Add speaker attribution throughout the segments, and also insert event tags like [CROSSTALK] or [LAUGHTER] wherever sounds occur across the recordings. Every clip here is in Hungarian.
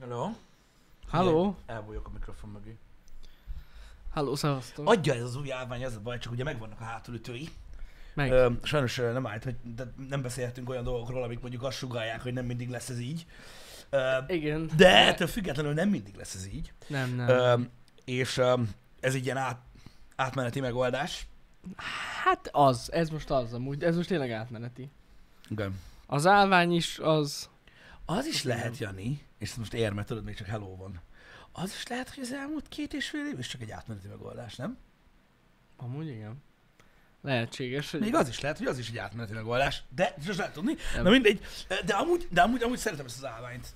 Speaker 1: Hello.
Speaker 2: Halló?
Speaker 1: Elbújok a mikrofon mögé.
Speaker 2: Halló, szevasztok.
Speaker 1: Adja ez az új állvány, ez a baj, csak ugye megvannak a hátulütői.
Speaker 2: Meg.
Speaker 1: Ö, sajnos ö, nem állt, hogy de nem beszélhetünk olyan dolgokról, amik mondjuk azt sugálják, hogy nem mindig lesz ez így. Ö,
Speaker 2: Igen.
Speaker 1: de ettől függetlenül nem mindig lesz ez így.
Speaker 2: Nem, nem.
Speaker 1: Ö, és ö, ez egy ilyen át, átmeneti megoldás.
Speaker 2: hát az, ez most az amúgy, ez most tényleg átmeneti.
Speaker 1: Igen.
Speaker 2: Az állvány is az...
Speaker 1: Az is lehet, Jani, és most érme, tudod, még csak hello van. Az is lehet, hogy az elmúlt két és fél év is csak egy átmeneti megoldás, nem?
Speaker 2: Amúgy igen. Lehetséges, hogy...
Speaker 1: Még az is lehet, hogy az is egy átmeneti megoldás, de most lehet tudni.
Speaker 2: Nem.
Speaker 1: Na mindegy, de amúgy, de amúgy, amúgy szeretem ezt az állványt.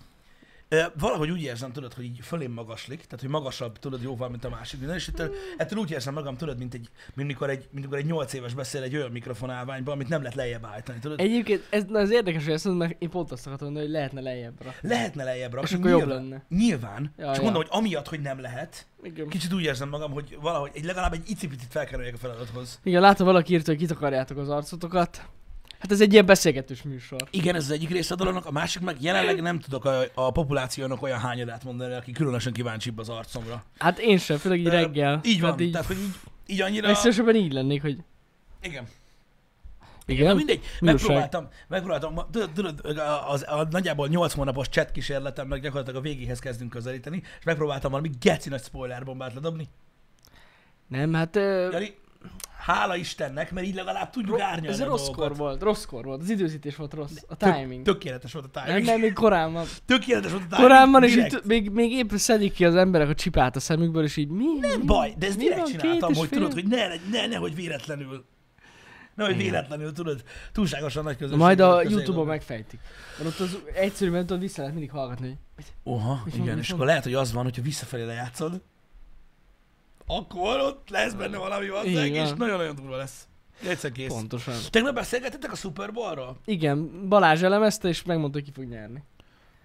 Speaker 1: Ö, Valahogy úgy érzem, tudod, hogy így fölém magaslik, tehát hogy magasabb, tudod, jóval, mint a másik minden, és ettől, ettől úgy érzem magam, tudod, mint, egy, mint mikor egy, mint mikor egy 8 éves beszél egy olyan mikrofon állványba, amit nem lehet lejjebb állítani, tudod? Egy...
Speaker 2: Egyébként ez, na, ez érdekes, hogy ezt mondod, mert én pont azt akartam mondani, hogy lehetne lejjebb rakni.
Speaker 1: Lehetne lejjebb rakni.
Speaker 2: És akkor jobb
Speaker 1: nyilván-
Speaker 2: lenne.
Speaker 1: Nyilván. Ja,
Speaker 2: Ja,
Speaker 1: Csak
Speaker 2: ja.
Speaker 1: mondom, hogy amiatt, hogy nem lehet,
Speaker 2: Igen.
Speaker 1: kicsit úgy érzem magam, hogy valahogy egy, legalább egy icipicit felkerüljek a feladathoz.
Speaker 2: Igen, látom valaki írta, hogy kitakarjátok az arcotokat. Hát ez egy ilyen beszélgetős műsor.
Speaker 1: Igen, ez az egyik része a dolognak, a másik meg jelenleg nem tudok a, a populációnak olyan hányadát mondani, aki különösen kíváncsibb az arcomra.
Speaker 2: Hát én sem, főleg így
Speaker 1: Ö,
Speaker 2: reggel.
Speaker 1: Így van,
Speaker 2: Hát így,
Speaker 1: tehát hogy így, így annyira...
Speaker 2: legszívesebben így lennék, hogy...
Speaker 1: Igen. Na
Speaker 2: Igen?
Speaker 1: mindegy,
Speaker 2: Újság.
Speaker 1: megpróbáltam, megpróbáltam, ma- tudod, tudod a- az, a nagyjából 8 hónapos chat kísérletemnek gyakorlatilag a végéhez kezdünk közelíteni, és megpróbáltam valami geci nagy spoiler bombát ledobni.
Speaker 2: Nem, hát... Ö,
Speaker 1: Jani, hála Istennek, mert így legalább tudjuk árnyalni
Speaker 2: ez
Speaker 1: a
Speaker 2: rossz kor
Speaker 1: dolgokat.
Speaker 2: volt, rossz kor volt, az időzítés volt rossz, a
Speaker 1: Tök-
Speaker 2: timing.
Speaker 1: Tökéletes volt a
Speaker 2: Nem,
Speaker 1: timing.
Speaker 2: nem, még korán van.
Speaker 1: Tökéletes volt a timing.
Speaker 2: Korán van, és
Speaker 1: direkt.
Speaker 2: itt még, még épp szedik ki az emberek a csipát a szemükből, és így mi?
Speaker 1: Nem baj, de ezt
Speaker 2: Mi
Speaker 1: direkt
Speaker 2: van, két
Speaker 1: csináltam,
Speaker 2: és
Speaker 1: hogy
Speaker 2: fél?
Speaker 1: tudod, hogy ne, ne, ne, hogy véletlenül. Ne, hogy véletlenül, tudod, túlságosan nagy
Speaker 2: Na
Speaker 1: közönség.
Speaker 2: majd a
Speaker 1: közé
Speaker 2: Youtube-on
Speaker 1: dobnak.
Speaker 2: megfejtik. Mert ott az egyszerű, mert ott vissza lehet mindig hallgatni, hogy mit-
Speaker 1: Oha,
Speaker 2: Mit
Speaker 1: igen,
Speaker 2: mondod,
Speaker 1: és
Speaker 2: mit
Speaker 1: akkor lehet, hogy az van, hogyha visszafelé lejátszod, akkor ott lesz benne valami valószínűleg,
Speaker 2: Igen.
Speaker 1: és nagyon-nagyon durva lesz. Egyszer kész. Pont.
Speaker 2: pontosan.
Speaker 1: Tegnap beszélgetettek a Super Bowl-ról?
Speaker 2: Igen, Balázs elemezte, és megmondta, hogy ki fog nyerni.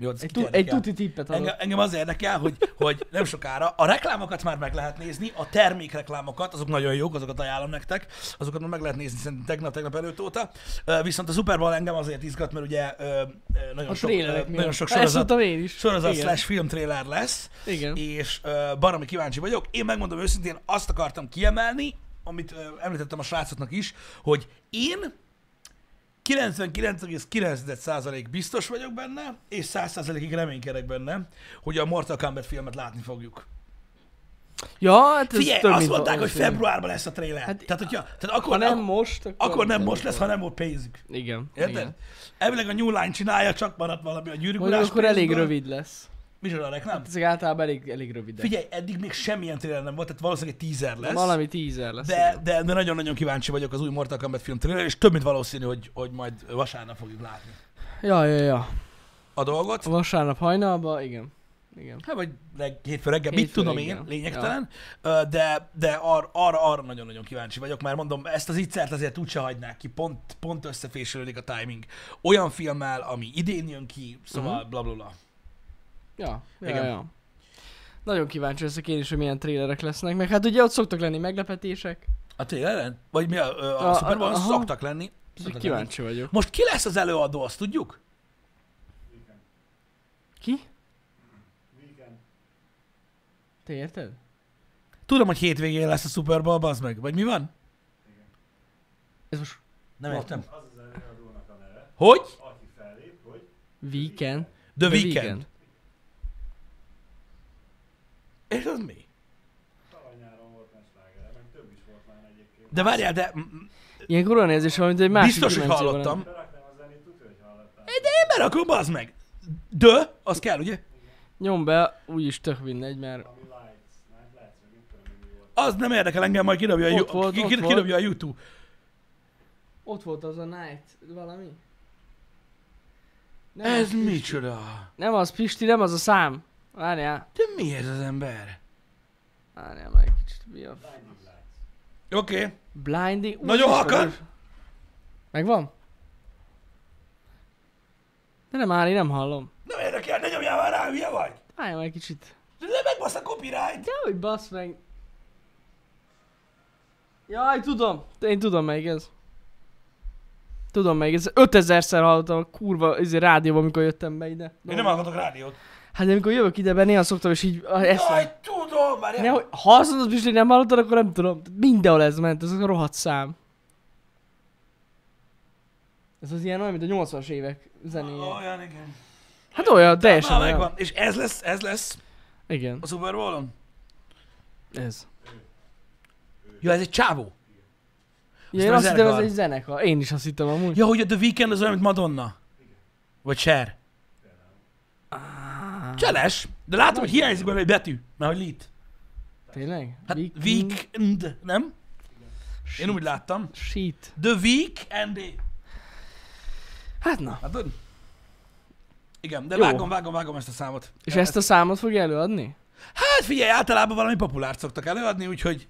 Speaker 1: Jó, ez
Speaker 2: Egy,
Speaker 1: kit
Speaker 2: tu- egy
Speaker 1: érdekel?
Speaker 2: tuti tippet
Speaker 1: Engem,
Speaker 2: adott.
Speaker 1: engem az érdekel, hogy, hogy nem sokára. A reklámokat már meg lehet nézni, a termékreklámokat, azok nagyon jók, azokat ajánlom nektek, azokat már meg lehet nézni szerintem tegnap, tegnap előtt óta. Ö, Viszont a Super Bowl engem azért izgat, mert ugye ö, ö, nagyon,
Speaker 2: A
Speaker 1: sok, ö,
Speaker 2: trélerek miatt.
Speaker 1: nagyon sok
Speaker 2: Hát Ezt
Speaker 1: sorozat,
Speaker 2: mondtam én is.
Speaker 1: sorozat
Speaker 2: Igen.
Speaker 1: slash filmtréler lesz,
Speaker 2: Igen.
Speaker 1: és ö, baromi kíváncsi vagyok. Én megmondom őszintén, azt akartam kiemelni, amit ö, említettem a srácoknak is, hogy én 99,9% biztos vagyok benne, és 100%-ig reménykedek benne, hogy a Mortal Kombat filmet látni fogjuk.
Speaker 2: Ja, hát ez
Speaker 1: Figyelj,
Speaker 2: több,
Speaker 1: azt
Speaker 2: mint
Speaker 1: mondták, hogy
Speaker 2: valószínű.
Speaker 1: februárban lesz a trailer. Hát,
Speaker 2: Hát-
Speaker 1: tehát, hogyha, tehát akkor,
Speaker 2: Ha nem
Speaker 1: ak-
Speaker 2: most, akkor...
Speaker 1: akkor nem most lesz, hanem ott pénzük.
Speaker 2: Igen.
Speaker 1: Érted?
Speaker 2: igen.
Speaker 1: Elvileg a New Line csinálja, csak maradt valami a
Speaker 2: Mondjuk
Speaker 1: gyűrűkulás
Speaker 2: akkor elég rövid lesz.
Speaker 1: Micsoda a reklám?
Speaker 2: Ezek általában elég, elég rövidek.
Speaker 1: Figyelj, eddig még semmilyen trailer nem volt, tehát valószínűleg egy teaser lesz.
Speaker 2: Valami tízer lesz.
Speaker 1: De, de, de nagyon-nagyon kíváncsi vagyok az új Mortal Kombat film trailer, és több mint valószínű, hogy, hogy majd vasárnap fogjuk látni
Speaker 2: Ja, ja, ja.
Speaker 1: a dolgot.
Speaker 2: A vasárnap hajnalban, igen. Igen.
Speaker 1: Hát vagy reg, hétfő reggel, mit
Speaker 2: Hétfő
Speaker 1: tudom
Speaker 2: reggel.
Speaker 1: én, lényegtelen, Ö, de, de ar, arra, arra nagyon-nagyon kíváncsi vagyok, mert mondom, ezt az ittszert azért úgyse hagynák ki, pont, pont összefésülődik a timing. Olyan filmmel, ami idén jön ki, szóval
Speaker 2: Mhm.
Speaker 1: bla bla bla.
Speaker 2: Ja, ja,
Speaker 1: Igen.
Speaker 2: igen. ja. Nagyon kíváncsi leszek én is, hogy milyen trélerek lesznek, meg hát ugye ott szoktak lenni meglepetések,
Speaker 1: A trailer Vagy mi a, ö, a, a
Speaker 2: A-
Speaker 1: Super Bowl-on
Speaker 2: aha.
Speaker 1: szoktak lenni.
Speaker 2: úgyhogy
Speaker 1: Szoktak lenni.
Speaker 2: kíváncsi vagyok.
Speaker 1: Most ki lesz az előadó, azt tudjuk?
Speaker 2: Ki? Te érted?
Speaker 1: Tudom, hogy hétvégén lesz a Super Bowl, bazd meg. Vagy mi van?
Speaker 2: Ez most
Speaker 1: Nem
Speaker 2: Ma-
Speaker 1: értem.
Speaker 3: Az az előadónak a neve,
Speaker 1: Hogy?
Speaker 3: aki fellép, hogy
Speaker 2: weekend?
Speaker 1: The, Weeknd. És az mi?
Speaker 3: tavaly nyáron volt már slágere, meg több is volt már egyébként.
Speaker 1: De várjál, de mm,
Speaker 2: Ilyenkor olyan érzés van, mint egy másik
Speaker 1: biztos, hogy
Speaker 2: dimenzióban
Speaker 1: hallottam.
Speaker 2: lenne.
Speaker 3: Beraknám a zenét, tudja, hogy hallottál.
Speaker 1: Mert akkor bazd meg. De, az kell, ugye?
Speaker 2: Nyom be, úgyis tök mindegy, mert
Speaker 3: Ami lights, night lights, vagy mit tudom én mi volt.
Speaker 1: Az nem érdekel engem, majd kidobja a,
Speaker 2: Ott
Speaker 1: ju-
Speaker 2: volt,
Speaker 1: ki-
Speaker 2: ott
Speaker 1: ki-
Speaker 2: volt.
Speaker 1: kidobja a YouTube.
Speaker 2: ott volt az a night valami. Nem,
Speaker 1: Ez
Speaker 2: az Pisti.
Speaker 1: micsoda?
Speaker 2: Nem az Pisti, nem az a szám. Várjál,
Speaker 1: De mi ez az ember?
Speaker 2: várjál már egy kicsit, mi a
Speaker 3: Blinding lights.
Speaker 1: Oké. Okay.
Speaker 2: Blinding...
Speaker 1: Nagyon
Speaker 2: Úristen,
Speaker 1: halkan!
Speaker 2: úr- Megvan? De nem áll, én nem hallom.
Speaker 1: Nem érdekel, ne nyomjál már rá, hülye vagy.
Speaker 2: Állj már egy kicsit.
Speaker 1: De ne megbasz a copyright.
Speaker 2: De hogy basz meg. Jaj, tudom. Én tudom meg ez. Tudom meg, ez 5000-szer hallottam a kurva izé, rádióban, amikor jöttem be ide.
Speaker 1: Én nem hallgatok rádiót.
Speaker 2: Hát de amikor jövök ide, mert néha szoktam, és így ah, ezt
Speaker 1: Jaj, tudom, már
Speaker 2: Nehogy, ha azt mondod, Pisti, nem hallottad, akkor nem tudom. Mindenhol ez ment, ez a rohadt szám. Ez az ilyen olyan, mint a 80-as évek zenéje.
Speaker 1: Olyan, igen.
Speaker 2: Hát olyan, teljesen
Speaker 1: Már
Speaker 2: olyan.
Speaker 1: megvan. És ez lesz, ez lesz
Speaker 2: Igen,
Speaker 1: a Super Bowl-on?
Speaker 2: ez.
Speaker 1: Ja, ez egy csávó.
Speaker 2: Ja, én
Speaker 1: a
Speaker 2: azt hittem, ez
Speaker 1: zenekar.
Speaker 2: egy zenekar. Én is azt hittem amúgy.
Speaker 1: Ja, hogy a The Weeknd az olyan, mint Madonna. Vagy Cher.
Speaker 2: Ah.
Speaker 1: Cseles, de látom, hogy hiányzik belőle egy betű, mert hogy lit.
Speaker 2: Tényleg?
Speaker 1: Hát
Speaker 2: Week-
Speaker 1: Weeknd, nem? Én
Speaker 2: Shit.
Speaker 1: úgy láttam.
Speaker 2: Shit.
Speaker 1: The Weeknd.
Speaker 2: Hát na.
Speaker 1: Látod? Igen, de
Speaker 2: Jó.
Speaker 1: vágom, vágom, vágom ezt a számot.
Speaker 2: És ezt a számot fogja előadni?
Speaker 1: Hát figyelj, általában valami populárt szoktak előadni, úgyhogy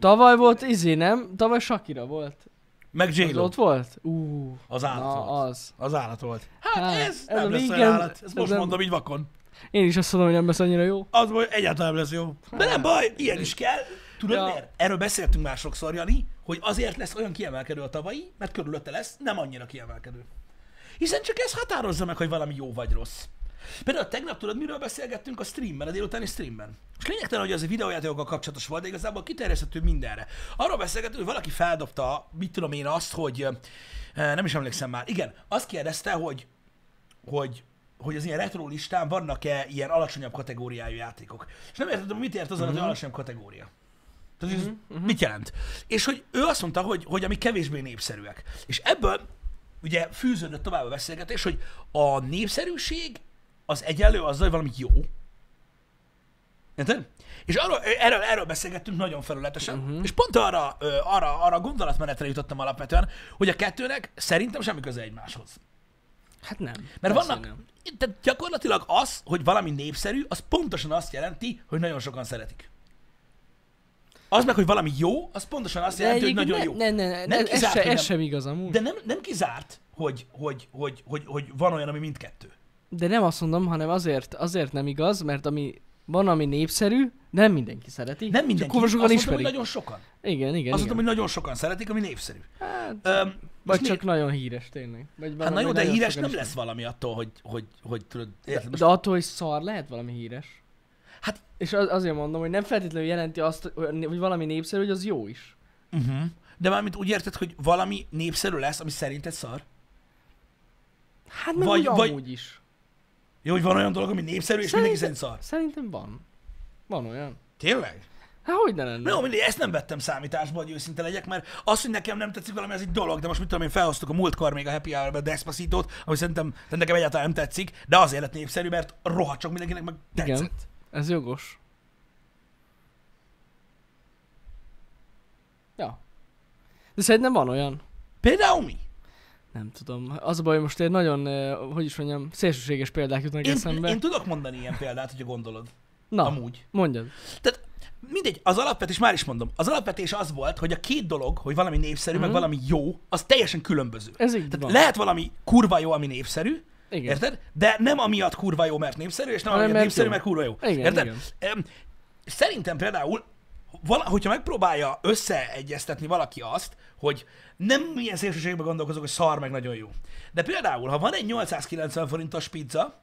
Speaker 2: Tavaly volt izé, nem? Tavaly Shakira volt.
Speaker 1: meg
Speaker 2: Az
Speaker 1: j
Speaker 2: ott volt? Ú,
Speaker 1: Az állat
Speaker 2: na
Speaker 1: volt.
Speaker 2: az.
Speaker 1: Az állat volt. Hát
Speaker 2: Hát,
Speaker 1: ez,
Speaker 2: ez
Speaker 1: nem
Speaker 2: a
Speaker 1: lesz olyan
Speaker 2: Weeknd-
Speaker 1: állat. Ezt
Speaker 2: ez
Speaker 1: most
Speaker 2: nem-
Speaker 1: mondom így vakon.
Speaker 2: Én is azt mondom, hogy nem lesz annyira jó.
Speaker 1: Az hogy egyáltalán nem lesz jó. De nem baj, ilyen is kell. Tudod
Speaker 2: Ja.
Speaker 1: miért? Erről beszéltünk már sokszor, Jani, hogy azért lesz olyan kiemelkedő a tavalyi, mert körülötte lesz nem annyira kiemelkedő. Hiszen csak ez határozza meg, hogy valami jó vagy rossz. Például tegnap tudod, miről beszélgettünk a streamben, a délutáni streamben. És lényegtelen, hogy az a videójátékokkal kapcsolatos volt, de igazából kiterjeszthető mindenre. Arról beszélgettünk, hogy valaki feldobta, mit tudom én, azt, hogy eh, nem is emlékszem már. Igen, azt kérdezte, hogy hogy, hogy az ilyen retro listán vannak-e ilyen alacsonyabb kategóriájú játékok. És nem értettem, mit ért az alatt, hogy alacsonyabb kategória. Tehát, hogy ez mit jelent? És hogy ő azt mondta, hogy, hogy ami kevésbé népszerűek. És ebből ugye fűződött tovább a beszélgetés, hogy a népszerűség az egyenlő azzal, hogy valami jó. Érted? És arról, erről, erről beszélgettünk nagyon felületesen, uh-huh. és pont arra, ö, arra, arra a gondolatmenetre jutottam alapvetően, hogy a kettőnek szerintem semmi köze egymáshoz.
Speaker 2: Hát nem.
Speaker 1: Mert
Speaker 2: Persze,
Speaker 1: vannak,
Speaker 2: nem.
Speaker 1: tehát gyakorlatilag az, hogy valami népszerű, az pontosan azt jelenti, hogy nagyon sokan szeretik. Az meg, hogy valami jó, az pontosan azt
Speaker 2: De
Speaker 1: jelenti, hogy
Speaker 2: egyébként
Speaker 1: hát nagyon jó.
Speaker 2: ne, ne, ne,
Speaker 1: Nem
Speaker 2: nem ez,
Speaker 1: kizárt,
Speaker 2: se,
Speaker 1: hogy
Speaker 2: ez
Speaker 1: nem.
Speaker 2: sem igaz amúgy.
Speaker 1: De
Speaker 2: De,
Speaker 1: nem, nem kizárt, hogy, hogy, hogy, hogy, hogy van olyan, ami mindkettő.
Speaker 2: de nem azt mondom, hanem azért, azért nem igaz, mert ami van, ami népszerű, de nem mindenki szereti.
Speaker 1: Nem mindenki.
Speaker 2: Csak kurva
Speaker 1: azt
Speaker 2: sokan
Speaker 1: mondtam,
Speaker 2: ismerik.
Speaker 1: hogy nagyon sokan.
Speaker 2: Igen, igen,
Speaker 1: Azt
Speaker 2: igen.
Speaker 1: mondtam, hogy nagyon sokan szeretik, ami népszerű.
Speaker 2: Hát,
Speaker 1: Öm,
Speaker 2: vagy
Speaker 1: most
Speaker 2: csak
Speaker 1: né-
Speaker 2: nagyon híres tényleg. Vagy
Speaker 1: Hát
Speaker 2: valami
Speaker 1: na jó, de
Speaker 2: nagyon
Speaker 1: híres nem
Speaker 2: sokan ismerik.
Speaker 1: lesz valami attól, hogy, hogy, hogy tudod, érted?
Speaker 2: De attól, hogy szar lehet valami híres.
Speaker 1: Hát-
Speaker 2: És az, azért mondom, hogy nem feltétlenül jelenti azt, hogy hogy valami népszerű, hogy az jó is.
Speaker 1: Uh-huh. De mármint úgy érted, hogy valami népszerű lesz, ami szerinted szar?
Speaker 2: Hát meg
Speaker 1: Vagy-
Speaker 2: vagy,
Speaker 1: vagy-
Speaker 2: vagy, amúgy is.
Speaker 1: Jó, hogy van olyan dolog, ami népszerű, és mindenki szerint szar.
Speaker 2: Szerintem van. Van olyan.
Speaker 1: Tényleg?
Speaker 2: Hát hogy ne lenne?
Speaker 1: Na jó, mindegy, ezt nem vettem számításba, hogy őszinte legyek, mert az, hogy nekem nem tetszik valami, ez egy dolog, de most mit tudom én, felhoztuk a múltkor még a Happy Hour-be a Despacito-t, ami szerintem tehát nekem egyáltalán nem tetszik, de azért lett népszerű, mert rohadt sok mindenkinek meg tetszett.
Speaker 2: Igen. Ez jogos. Ja. De szerintem van olyan.
Speaker 1: Például mi?
Speaker 2: Nem tudom. Az a baj, hogy most egy nagyon, eh, hogy is mondjam, szélsőséges példák jutnak
Speaker 1: Én,
Speaker 2: eszembe.
Speaker 1: én, tudok mondani ilyen példát, hogyha gondolod.
Speaker 2: Na,
Speaker 1: Amúgy.
Speaker 2: mondjad.
Speaker 1: Tehát mindegy, az alapvetés, már is mondom, az alapvetés az volt, hogy a két dolog, hogy valami népszerű, mm-hmm. meg valami jó, az teljesen különböző.
Speaker 2: Mhm. Ez így
Speaker 1: Tehát
Speaker 2: van.
Speaker 1: lehet valami kurva jó, ami népszerű,
Speaker 2: Igen.
Speaker 1: Érted? De nem amiatt kurva jó, mert népszerű, és nem
Speaker 2: Hanem
Speaker 1: amiatt
Speaker 2: mert
Speaker 1: népszerű,
Speaker 2: jó.
Speaker 1: mert kurva jó.
Speaker 2: Igen,
Speaker 1: Érted?
Speaker 2: igen.
Speaker 1: Em, Szerintem például, vala, hogyha megpróbálja összeegyeztetni valaki azt, hogy nem milyen szélsőségben gondolkozok, hogy szar meg nagyon jó. De például, ha van egy 890 forintos pizza,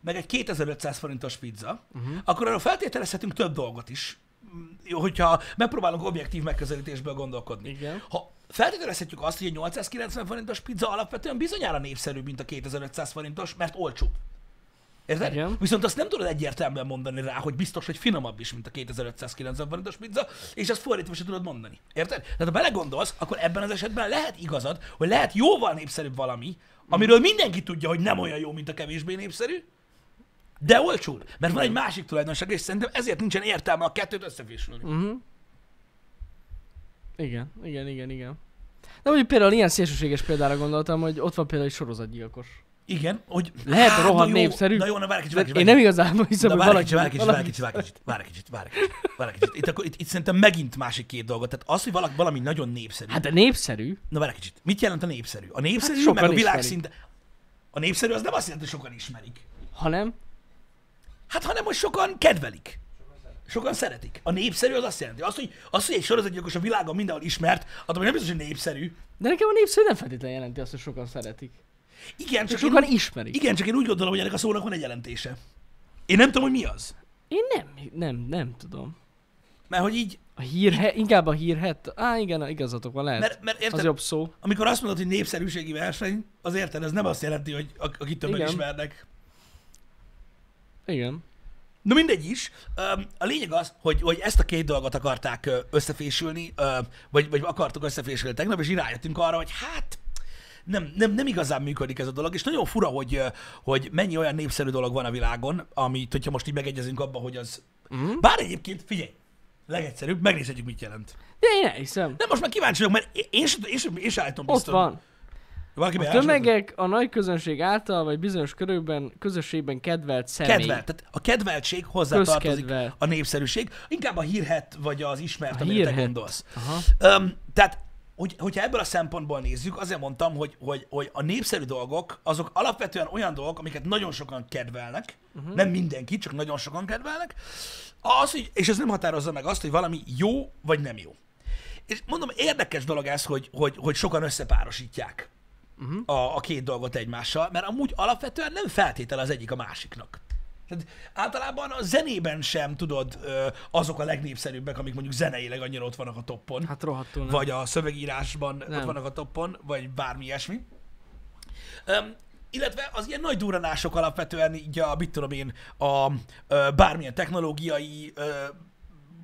Speaker 1: meg egy 2500 forintos pizza, uh-huh. akkor arra feltételezhetünk több dolgot is, Mm, jó, hogyha megpróbálunk objektív megközelítésből gondolkodni.
Speaker 2: Igen.
Speaker 1: Ha feltételezhetjük azt, hogy egy 890 forintos pizza alapvetően bizonyára népszerűbb, mint a 2500 forintos, mert olcsóbb. Érted?
Speaker 2: Igen.
Speaker 1: Viszont azt nem tudod egyértelműen mondani rá, hogy biztos, hogy finomabb is, mint a 2590 forintos pizza, és azt fordítva sem tudod mondani. Érted? Tehát ha belegondolsz, akkor ebben az esetben lehet igazad, hogy lehet jóval népszerűbb valami, amiről mindenki tudja, hogy nem olyan jó, mint a kevésbé népszerű, de olcsóbb. Mert van egy másik tulajdonság, és szerintem ezért nincsen értelme a kettőt összefésülni.
Speaker 2: Uh-huh. Igen, igen, igen, igen. De mondjuk például ilyen szélsőséges példára gondoltam, hogy ott van például egy sorozatgyilkos.
Speaker 1: Igen, hogy...
Speaker 2: Lehet
Speaker 1: Á,
Speaker 2: rohadt
Speaker 1: na jó,
Speaker 2: népszerű,
Speaker 1: Na jó, na várj egy kicsit,
Speaker 2: De
Speaker 1: várj egy
Speaker 2: én
Speaker 1: kicsit,
Speaker 2: nem igazából hiszem,
Speaker 1: Na
Speaker 2: hogy
Speaker 1: várj egy
Speaker 2: valaki...
Speaker 1: kicsit, várj egy kicsit, várj egy
Speaker 2: valaki-
Speaker 1: kicsit, várj egy kicsit, várj egy kicsit, várj egy kicsit, várj egy kicsit. Itt, akkor, itt, itt szerintem megint másik két dolgot, tehát az, hogy valaki, valami nagyon népszerű.
Speaker 2: Hát de népszerű.
Speaker 1: Na várj egy kicsit, mit jelent a népszerű? A népszerű,
Speaker 2: Hát
Speaker 1: hát
Speaker 2: sokan
Speaker 1: meg a
Speaker 2: ismerik.
Speaker 1: világszinte... A népszerű az nem azt jelenti, hogy sokan ismerik.
Speaker 2: Hanem?
Speaker 1: Hát hanem, hogy sokan kedvelik. Sokan szeretik. A népszerű az azt jelenti. Az, hogy, az, hogy egy sorozatgyilkos a világon mindenhol ismert, attól még nem biztos, hogy népszerű.
Speaker 2: De nekem a népszerű nem feltétlenül jelenti azt, hogy sokan szeretik.
Speaker 1: Igen,
Speaker 2: Csak
Speaker 1: csak én,
Speaker 2: sokan
Speaker 1: úgy,
Speaker 2: ismerik.
Speaker 1: igen, csak én úgy gondolom, hogy ennek a szónak van egy jelentése. Én nem tudom, hogy mi az.
Speaker 2: Én nem, nem, nem tudom.
Speaker 1: Mert hogy így,
Speaker 2: A hírhe, inkább a hírhet. Á, igen, igazatok van, lehet.
Speaker 1: mert, mert
Speaker 2: az
Speaker 1: érted,
Speaker 2: jobb szó.
Speaker 1: amikor azt mondod, hogy népszerűségi verseny, az érted, ez nem azt jelenti, hogy ak- akit többen
Speaker 2: Igen.
Speaker 1: ismernek.
Speaker 2: Igen.
Speaker 1: Na mindegy is. Öm, A lényeg az, hogy, hogy ezt a két dolgot akarták ö, összefésülni, ö, vagy, vagy akartuk összefésülni tegnap, és rájöttünk arra, hogy hát nem, nem, nem igazán működik ez a dolog, és nagyon fura, hogy, ö, hogy mennyi olyan népszerű dolog van a világon, amit, hogyha most így megegyezünk abba, hogy az...
Speaker 2: Mm.
Speaker 1: Bár egyébként, figyelj, legegyszerűbb, megnézhetjük, mit jelent.
Speaker 2: De én elhiszem.
Speaker 1: Nem, most már kíváncsi vagyok, mert én, én, sem- én, sem- én, sem állítom
Speaker 2: Ott
Speaker 1: biztos.
Speaker 2: van.
Speaker 1: Valaki
Speaker 2: A
Speaker 1: beállította?
Speaker 2: tömegek a nagy közönség által, vagy bizonyos körökben, közösségben kedvelt személy.
Speaker 1: Kedvelt. Tehát a kedveltség hozzátartozik
Speaker 2: Közkedvel.
Speaker 1: a népszerűség. Inkább a hírhet vagy az ismert,
Speaker 2: A
Speaker 1: amire te
Speaker 2: hírhet.
Speaker 1: gondolsz.
Speaker 2: Aha.
Speaker 1: Öm, tehát, hogy, hogyha ebből a szempontból nézzük, azért mondtam, hogy, hogy, hogy a népszerű dolgok, azok alapvetően olyan dolgok, amiket nagyon sokan kedvelnek,
Speaker 2: Mhm.
Speaker 1: uh-huh. nem mindenki, csak nagyon sokan kedvelnek, az, hogy, és ez nem határozza meg azt, hogy valami jó vagy nem jó. És mondom, érdekes dolog ez, hogy, hogy, hogy sokan összepárosítják
Speaker 2: Mhm.
Speaker 1: uh-huh. a, a két dolgot egymással, mert amúgy alapvetően nem feltétel az egyik a másiknak. Tehát általában a zenében sem tudod ö, azok a legnépszerűbbek, amik mondjuk zeneileg annyira ott vannak a toppon
Speaker 2: Hát rohadtul nem.
Speaker 1: vagy a szövegírásban nem. ott
Speaker 2: Nem.
Speaker 1: vannak a toppon, vagy bármi ilyesmi. Um, illetve az ilyen nagy duranások alapvetően így a, mit tudom én, a ö, bármilyen technológiai ö,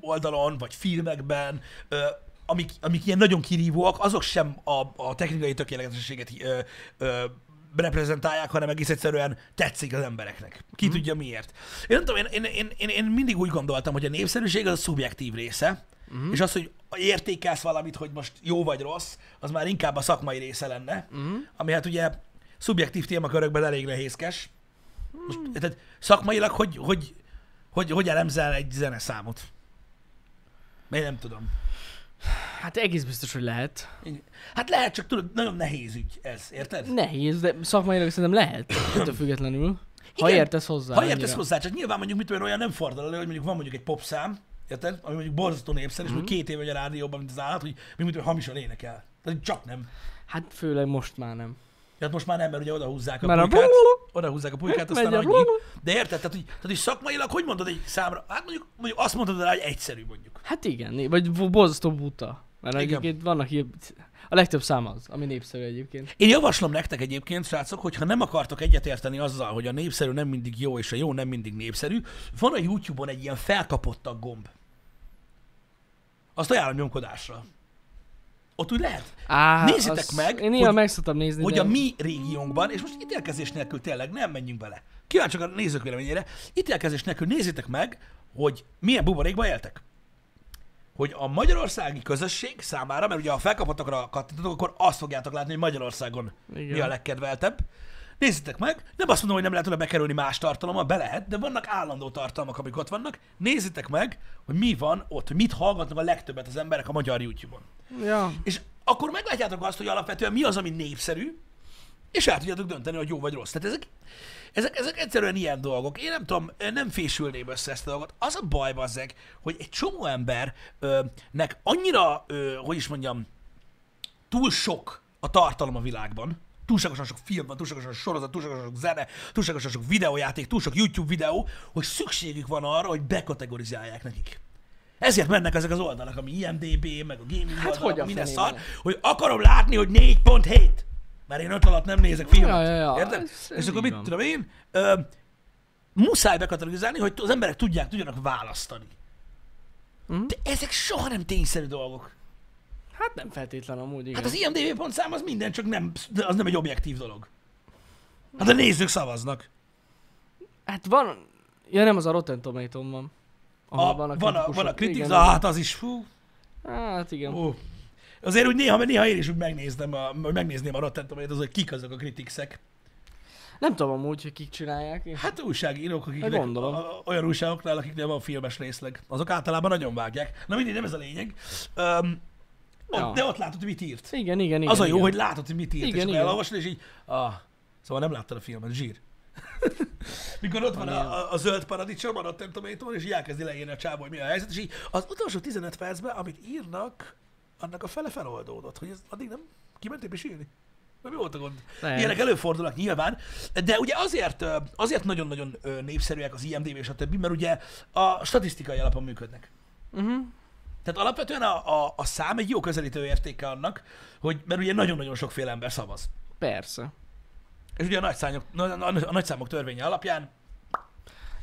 Speaker 1: oldalon, vagy filmekben, ö, amik, amik ilyen nagyon kirívóak, azok sem a, a technikai tökéletességet ö, ö, reprezentálják, hanem egész egyszerűen tetszik az embereknek. Ki mm. tudja miért. Én nem tudom, én, én, én, én, én mindig úgy gondoltam, hogy a népszerűség az a szubjektív része, mm. és az, hogy értékelsz valamit, hogy most jó vagy rossz, az már inkább a szakmai része lenne, mm. ami hát ugye szubjektív témakörökben elég nehézkes. Most, tehát szakmailag hogy, hogy, hogy, hogy elemzel egy zeneszámot? Én nem tudom.
Speaker 2: Hát egész biztos, hogy lehet.
Speaker 1: Én- Hát lehet, csak tudod, nagyon nehéz ügy ez, érted?
Speaker 2: Nehéz, de szakmailag szerintem
Speaker 1: [COUGHS]
Speaker 2: lehet. Ettől függetlenül. Ha
Speaker 1: Igen.
Speaker 2: értesz hozzá.
Speaker 1: Ha
Speaker 2: annyira.
Speaker 1: értesz hozzá, csak nyilván mondjuk mit tudom én, olyan nem fordul elő, hogy mondjuk van mondjuk egy popszám, érted? Ami mondjuk borzasztó népszerű, és
Speaker 2: Mhm.
Speaker 1: mondjuk két év vagy a rádióban, mint az állat, hogy mi mit tudom, hamisan énekel. Tehát csak nem.
Speaker 2: Hát főleg most már nem.
Speaker 1: Hát most már nem, mert ugye oda húzzák a
Speaker 2: Mert a
Speaker 1: pulykát, oda húzzák a pulykát, aztán
Speaker 2: Megy a
Speaker 1: annyi. De érted? Tehát, hogy, tehát, hogy szakmailag hogy mondod egy számra? Hát mondjuk, mondjuk azt mondod rá, hogy egyszerű mondjuk.
Speaker 2: Hát igen, né- vagy bo- borzasztó buta. Mert
Speaker 1: Igen.
Speaker 2: egyébként vannak ilyen... A legtöbb szám az, ami népszerű egyébként.
Speaker 1: Én javaslom nektek egyébként, srácok, hogyha nem akartok egyetérteni azzal, hogy a népszerű nem mindig jó, és a jó nem mindig népszerű, van a YouTube-on egy ilyen felkapottak gomb. Azt ajánlom nyomkodásra. Ott úgy lehet,
Speaker 2: Á,
Speaker 1: Nézzétek meg,
Speaker 2: Én néha
Speaker 1: hogy-
Speaker 2: meg szoktam nézni,
Speaker 1: hogy
Speaker 2: de...
Speaker 1: a mi régiónkban, és most ítélkezés nélkül tényleg nem menjünk bele. Kíváncsiak a nézők véleményére. Ítélkezés nélkül nézzétek meg, hogy milyen buborékba éltek. Hogy a magyarországi közösség számára, mert ugye ha felkapottakra kattintotok, akkor azt fogjátok látni, hogy Magyarországon
Speaker 2: Igen.
Speaker 1: mi a legkedveltebb. Nézzétek meg, nem azt mondom, hogy nem lehet oda bekerülni más tartalommal, be lehet, de vannak állandó tartalmak, amik ott vannak. Nézzétek meg, hogy mi van ott, hogy mit hallgatnak a legtöbbet az emberek a magyar YouTube-on.
Speaker 2: Ja.
Speaker 1: És akkor meglátjátok azt, hogy alapvetően mi az, ami népszerű, és el tudjátok dönteni, hogy jó vagy rossz. Tehát ezek, ezek, ezek egyszerűen ilyen dolgok. Én nem tudom, nem fésülném össze ezt a dolgot. Az a baj, bazzeg, hogy egy csomó embernek annyira, ö, hogy is mondjam, túl sok a tartalom a világban, túlságosan sok film van, túlságosan sok sorozat, túlságosan sok zene, túlságosan sok videójáték, túl sok YouTube videó, hogy szükségük van arra, hogy bekategorizálják nekik. Ezért mennek ezek az oldalak, ami IMDB, meg a gaming hát
Speaker 2: hogy
Speaker 1: oldalak,
Speaker 2: a
Speaker 1: hogy minden szar,
Speaker 2: fenében?
Speaker 1: hogy akarom látni, hogy 4.7, mert én 5 alatt nem nézek filmet.
Speaker 2: Ja, ja, ja,
Speaker 1: Érted?
Speaker 2: ez- ez
Speaker 1: És akkor
Speaker 2: így
Speaker 1: mit
Speaker 2: van.
Speaker 1: tudom én, ö, muszáj bekategorizálni, hogy az emberek tudják, tudjanak választani.
Speaker 2: Mhm.
Speaker 1: De ezek soha nem tényszerű dolgok.
Speaker 2: Hát nem feltétlen amúgy, igen.
Speaker 1: Hát az IMDB pontszám az minden, csak nem, az nem egy objektív dolog. Hát a nézők szavaznak.
Speaker 2: Hát van... Ja nem, az a Rotten Tomatom van. Ahol
Speaker 1: A, van, a van, a, van a
Speaker 2: kritikusok.
Speaker 1: kritik,
Speaker 2: Igen,
Speaker 1: ah, hát az is, fú.
Speaker 2: Hát igen.
Speaker 1: Ó. Azért úgy néha, néha én is úgy megnézem, a, hogy megnézném a Rotten Tomatoes, hogy kik azok a kritikszek.
Speaker 2: Nem tudom amúgy, hogy kik csinálják. Én-
Speaker 1: Hát újságírók, akik
Speaker 2: Hát gondolom.
Speaker 1: olyan újságoknál, akiknél van filmes részleg. Azok általában nagyon vágják. Na mindig nem ez a lényeg. Um, ott,
Speaker 2: Ja.
Speaker 1: De ott látod, hogy mit írt.
Speaker 2: Igen, igen, igen.
Speaker 1: Igen, az a jó,
Speaker 2: igen.
Speaker 1: hogy látod, hogy mit írt, igen,
Speaker 2: Igen,
Speaker 1: és akkor
Speaker 2: igen.
Speaker 1: elolvasod, és így, ah, szóval nem láttad a filmet, zsír. [LAUGHS] Mikor ott van a, a, a zöld paradicsom, a Rotten Tomato-n, és így elkezdi leírni a csávó, hogy mi a helyzet, és így az utolsó 15 percben, amit írnak, annak a fele feloldódott, hogy ez addig nem kimentél is írni. Na, mi volt a gond?
Speaker 2: Lehet.
Speaker 1: Ilyenek előfordulnak nyilván, de ugye azért, ö, azért nagyon-nagyon ö, népszerűek az IMDB és a többi, mert ugye a statisztikai alapon működnek.
Speaker 2: Uh-huh.
Speaker 1: Tehát alapvetően a, a, a szám egy jó közelítő értéke annak, hogy mert ugye nagyon-nagyon sokféle ember szavaz.
Speaker 2: Persze.
Speaker 1: És ugye a nagyszámok, a nagyszámok törvénye alapján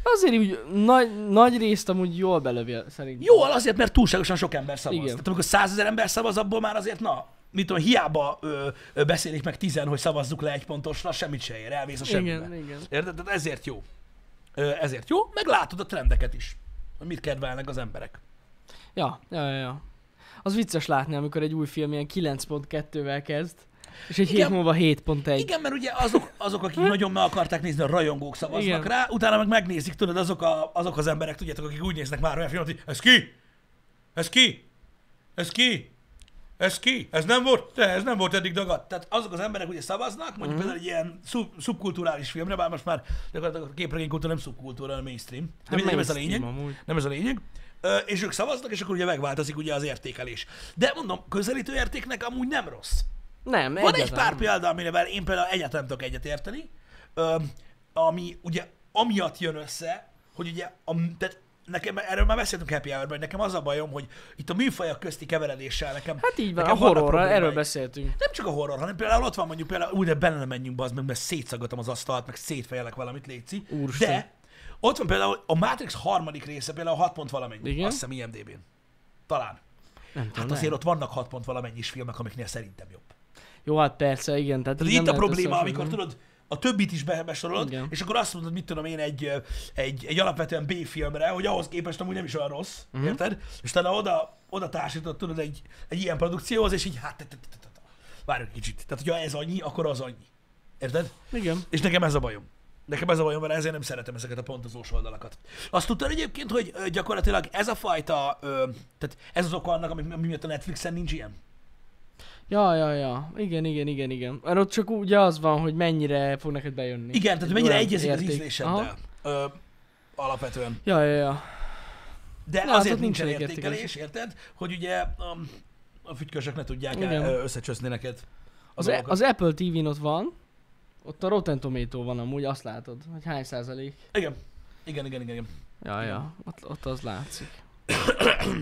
Speaker 2: Azért úgy nagy, nagy részt amúgy jól belövi a- szerintem.
Speaker 1: Jó, azért, mert túlságosan sok ember szavaz.
Speaker 2: Igen.
Speaker 1: Igen. Tehát amikor százezer ember szavaz, abból már azért, na, mit tudom, hiába ö, ö, beszélik meg tizen, hogy szavazzuk le egy pontosra, semmit se ér, elvész a semmibe.
Speaker 2: Igen, igen.
Speaker 1: Érted? Tehát ezért jó. Ö, ezért jó, meg látod a trendeket is, hogy mit kedvelnek az emberek.
Speaker 2: Ja, ja, ja, ja. Az vicces látni, amikor egy új film ilyen 9.2-vel kezd, és egy
Speaker 1: Igen.
Speaker 2: hét múlva 7.1.
Speaker 1: Igen, mert ugye azok, azok akik nagyon meg akarták nézni, a rajongók szavaznak
Speaker 2: Igen.
Speaker 1: Igen. rá, utána meg megnézik, tudod, azok, a, azok az emberek, tudjátok, akik úgy néznek már olyan filmet, hogy ez ki? Ez ki? Ez ki? Ez ki? Ez nem volt? De ez nem volt eddig dagadt. Tehát azok az emberek ugye szavaznak,
Speaker 2: Mhm.
Speaker 1: mondjuk mm. például egy ilyen szub, szubkulturális filmre, bár most már gyakorlatilag a képregénykultúra nem szubkultúra, hanem mainstream. De hát mindegy, nem ez a lényeg.
Speaker 2: Amúgy.
Speaker 1: Nem ez a lényeg. Ö, és ők szavaznak, és akkor ugye megváltozik ugye az értékelés. De mondom, közelítő értéknek amúgy nem rossz.
Speaker 2: Nem,
Speaker 1: Van egy
Speaker 2: egyáltalán
Speaker 1: pár példa, amivel én például egyáltalán nem tudok egyet érteni, öm, ami ugye amiatt jön össze, hogy ugye, a, tehát nekem, erről már beszéltünk Happy hour hogy nekem az a bajom, hogy itt a műfajok közti keveredéssel nekem...
Speaker 2: Hát így van, a
Speaker 1: nekem vannak
Speaker 2: horrorral,
Speaker 1: problémáim.
Speaker 2: erről beszéltünk.
Speaker 1: Nem csak a horror, hanem például ott van mondjuk például, úgy, de bele nem menjünk be, az meg, mert szétszagadom az asztalt, meg szétfejelek valamit, Léci.
Speaker 2: Úristen.
Speaker 1: De ott van például a Matrix harmadik része, például 6 pont valamennyi,
Speaker 2: Igen.
Speaker 1: azt hiszem IMDB-n. Talán.
Speaker 2: Nem tudom,
Speaker 1: Hát
Speaker 2: nem.
Speaker 1: azért ott vannak 6 pont valamennyi is filmek, amiknél szerintem jobb.
Speaker 2: Jó, hát persze, igen. Tehát
Speaker 1: Tehát
Speaker 2: így
Speaker 1: itt a
Speaker 2: nem lehet
Speaker 1: probléma, amikor
Speaker 2: összehasonlítani.
Speaker 1: tudod, a többit is be- besorolod,
Speaker 2: Igen.
Speaker 1: Igen. és akkor azt mondod, mit tudom én, egy, ö, egy, egy alapvetően B-filmre, hogy ahhoz képest amúgy nem is olyan rossz,
Speaker 2: Mhm.
Speaker 1: uh-huh. érted? És utána oda, oda társítod, tudod, egy, egy ilyen produkcióhoz, és így hát, te- te- te- te- te- várj egy kicsit. Tehát, hogyha ez annyi, akkor az annyi. Érted?
Speaker 2: Igen.
Speaker 1: És nekem ez a bajom. Nekem ez a bajom vele, ezért nem szeretem ezeket a pontozós oldalakat. Azt tudtad egyébként, hogy ö, gyakorlatilag ez a fajta, ö, tehát ez az oka annak, ami, ami miatt a Netflixen nincs ilyen?
Speaker 2: Ja, ja, ja. Igen, igen, igen, igen. Mert ott csak ugye az van, hogy mennyire fog neked bejönni.
Speaker 1: Igen, tehát mennyire
Speaker 2: olyan
Speaker 1: egyezik az
Speaker 2: érték.
Speaker 1: ízléseddel.
Speaker 2: Aha.
Speaker 1: Ö, alapvetően.
Speaker 2: Ja, ja, ja.
Speaker 1: De
Speaker 2: Na,
Speaker 1: Na,
Speaker 2: hát
Speaker 1: azért
Speaker 2: ott
Speaker 1: nincsen
Speaker 2: nincsenek
Speaker 1: értékelés, érted? Hogy ugye a, a fütykösök ne tudják
Speaker 2: Igen.
Speaker 1: el, összecsöszni neked. Az,
Speaker 2: Az, e-
Speaker 1: az...
Speaker 2: az Apple TV-n ott van, ott a Rotten Tomato van amúgy, azt látod, hogy hány százalék.
Speaker 1: Igen. Igen, igen, igen, igen.
Speaker 2: Ja, ja, ott, ott az látszik.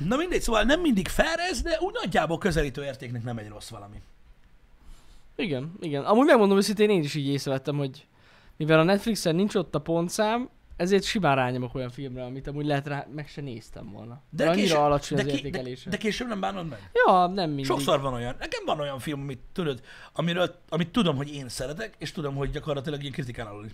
Speaker 1: Na mindegy, szóval nem mindig fair ez, de úgy nagyjából közelítő értéknek nem egy rossz valami.
Speaker 2: Igen, igen. Amúgy megmondom őszintén, én is így észrevettem, hogy mivel a Netflixen nincs ott a pontszám, ezért simán rányomok olyan filmre, amit amúgy lehet rá, meg se néztem volna. De annyira
Speaker 1: később-
Speaker 2: alacsony
Speaker 1: de
Speaker 2: az
Speaker 1: ki-
Speaker 2: értékelése.
Speaker 1: De, de később nem bánod meg.
Speaker 2: Ja, nem mindig.
Speaker 1: Sokszor van olyan. Nekem van olyan film, amit tudod, amiről, amit tudom, hogy én szeretek, és tudom, hogy gyakorlatilag ilyen kritikán alul.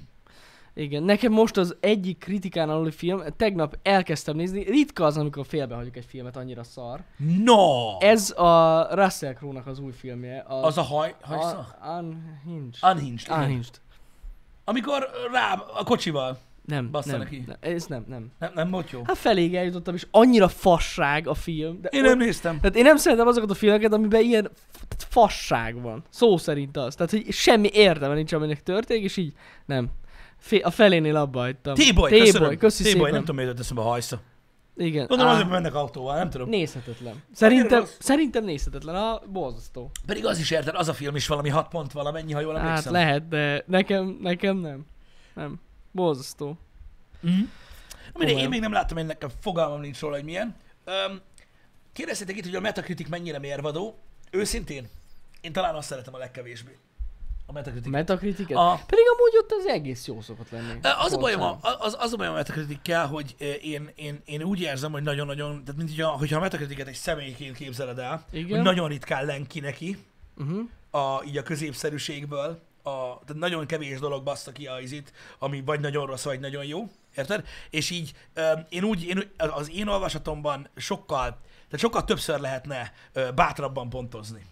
Speaker 2: Igen, nekem most az egyik kritikán aluli film, tegnap elkezdtem nézni, ritka az, amikor félbehagyok egy filmet, annyira szar.
Speaker 1: No!
Speaker 2: Ez a Russell Crowe-nak az új filmje. A,
Speaker 1: Az a haj... hajsza?
Speaker 2: a, Unhinged.
Speaker 1: Unhinged. igen.
Speaker 2: Unhinged.
Speaker 1: Amikor rá a kocsival.
Speaker 2: Nem,
Speaker 1: Bassza
Speaker 2: nem,
Speaker 1: neki.
Speaker 2: nem, ez nem, nem.
Speaker 1: Nem, nem volt jó.
Speaker 2: Hát feléig eljutottam, és annyira fasság a film. De
Speaker 1: Én nem néztem.
Speaker 2: Tehát én nem szeretem azokat a filmeket, amiben ilyen f- tehát fasság van. Szó szerint az. Tehát, hogy semmi értelme nincs, aminek történik, és így nem. Fé- a felénél abba hagytam.
Speaker 1: T-boy,
Speaker 2: T-boy,
Speaker 1: köszönöm.
Speaker 2: köszi
Speaker 1: T-boy,
Speaker 2: szépen.
Speaker 1: nem tudom, miért jött eszembe a hajsza.
Speaker 2: Igen.
Speaker 1: Gondolom,
Speaker 2: á,
Speaker 1: azért mennek autóval, nem tudom.
Speaker 2: Nézhetetlen. Szerintem,
Speaker 1: rossz.
Speaker 2: szerintem nézhetetlen. A borzasztó.
Speaker 1: Pedig az is érted, az a film is valami 6 pont valamennyi, ha jól
Speaker 2: Hát
Speaker 1: emlékszem.
Speaker 2: lehet, de nekem, nekem nem. Nem. Borzasztó.
Speaker 1: Mhm. Na mindegy,
Speaker 2: Komolyan.
Speaker 1: én még nem láttam, én nekem fogalmam nincs róla, hogy milyen. Öm, kérdeztétek itt, hogy a Metacritic mennyire mérvadó. Őszintén, én talán azt szeretem a legkevésbé. A
Speaker 2: A
Speaker 1: Metacritic.
Speaker 2: Metacritiket?
Speaker 1: A-
Speaker 2: Pedig amúgy ott az egész jó szokott lenni.
Speaker 1: Ö, Az a, bajom,
Speaker 2: Pontosan.
Speaker 1: a- az, az a bajom a Metacritic-kel, hogy ö, én, én, én úgy érzem, hogy nagyon-nagyon, tehát mint hogyha, hogyha a Metacritic-et egy személyként képzeled el,
Speaker 2: Igen.
Speaker 1: hogy nagyon ritkán lenki neki,
Speaker 2: Uh-huh.
Speaker 1: a, így a középszerűségből, a, tehát nagyon kevés dolog bassza ki a izit, ami vagy nagyon rossz, vagy nagyon jó, érted? És így öm, én úgy, én, az én olvasatomban sokkal, tehát sokkal többször lehetne ö, bátrabban pontozni.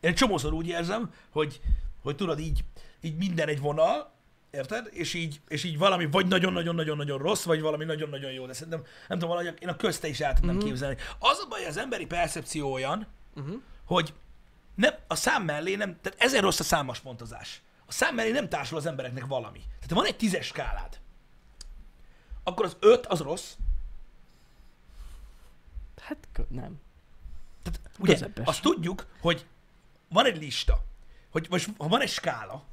Speaker 1: Én csomószor úgy érzem, hogy, hogy tudod, így, így minden egy vonal, érted? És így, és így valami vagy nagyon-nagyon-nagyon-nagyon rossz, vagy valami nagyon-nagyon jó, de szerintem, nem tudom, valahogy én a közte is el tudnám mm-hmm. képzelni. Az a baj, az emberi percepció olyan, hogy nem, a szám mellé nem, tehát ezért rossz a számos pontozás. A szám mellé nem társul az embereknek valami. Tehát ha van egy tízes skálád, akkor az öt az rossz,
Speaker 2: Hát kö- nem. Hát
Speaker 1: tehát ugye
Speaker 2: Közepes.
Speaker 1: azt tudjuk, hogy van egy lista. hogy most, ha van egy skála,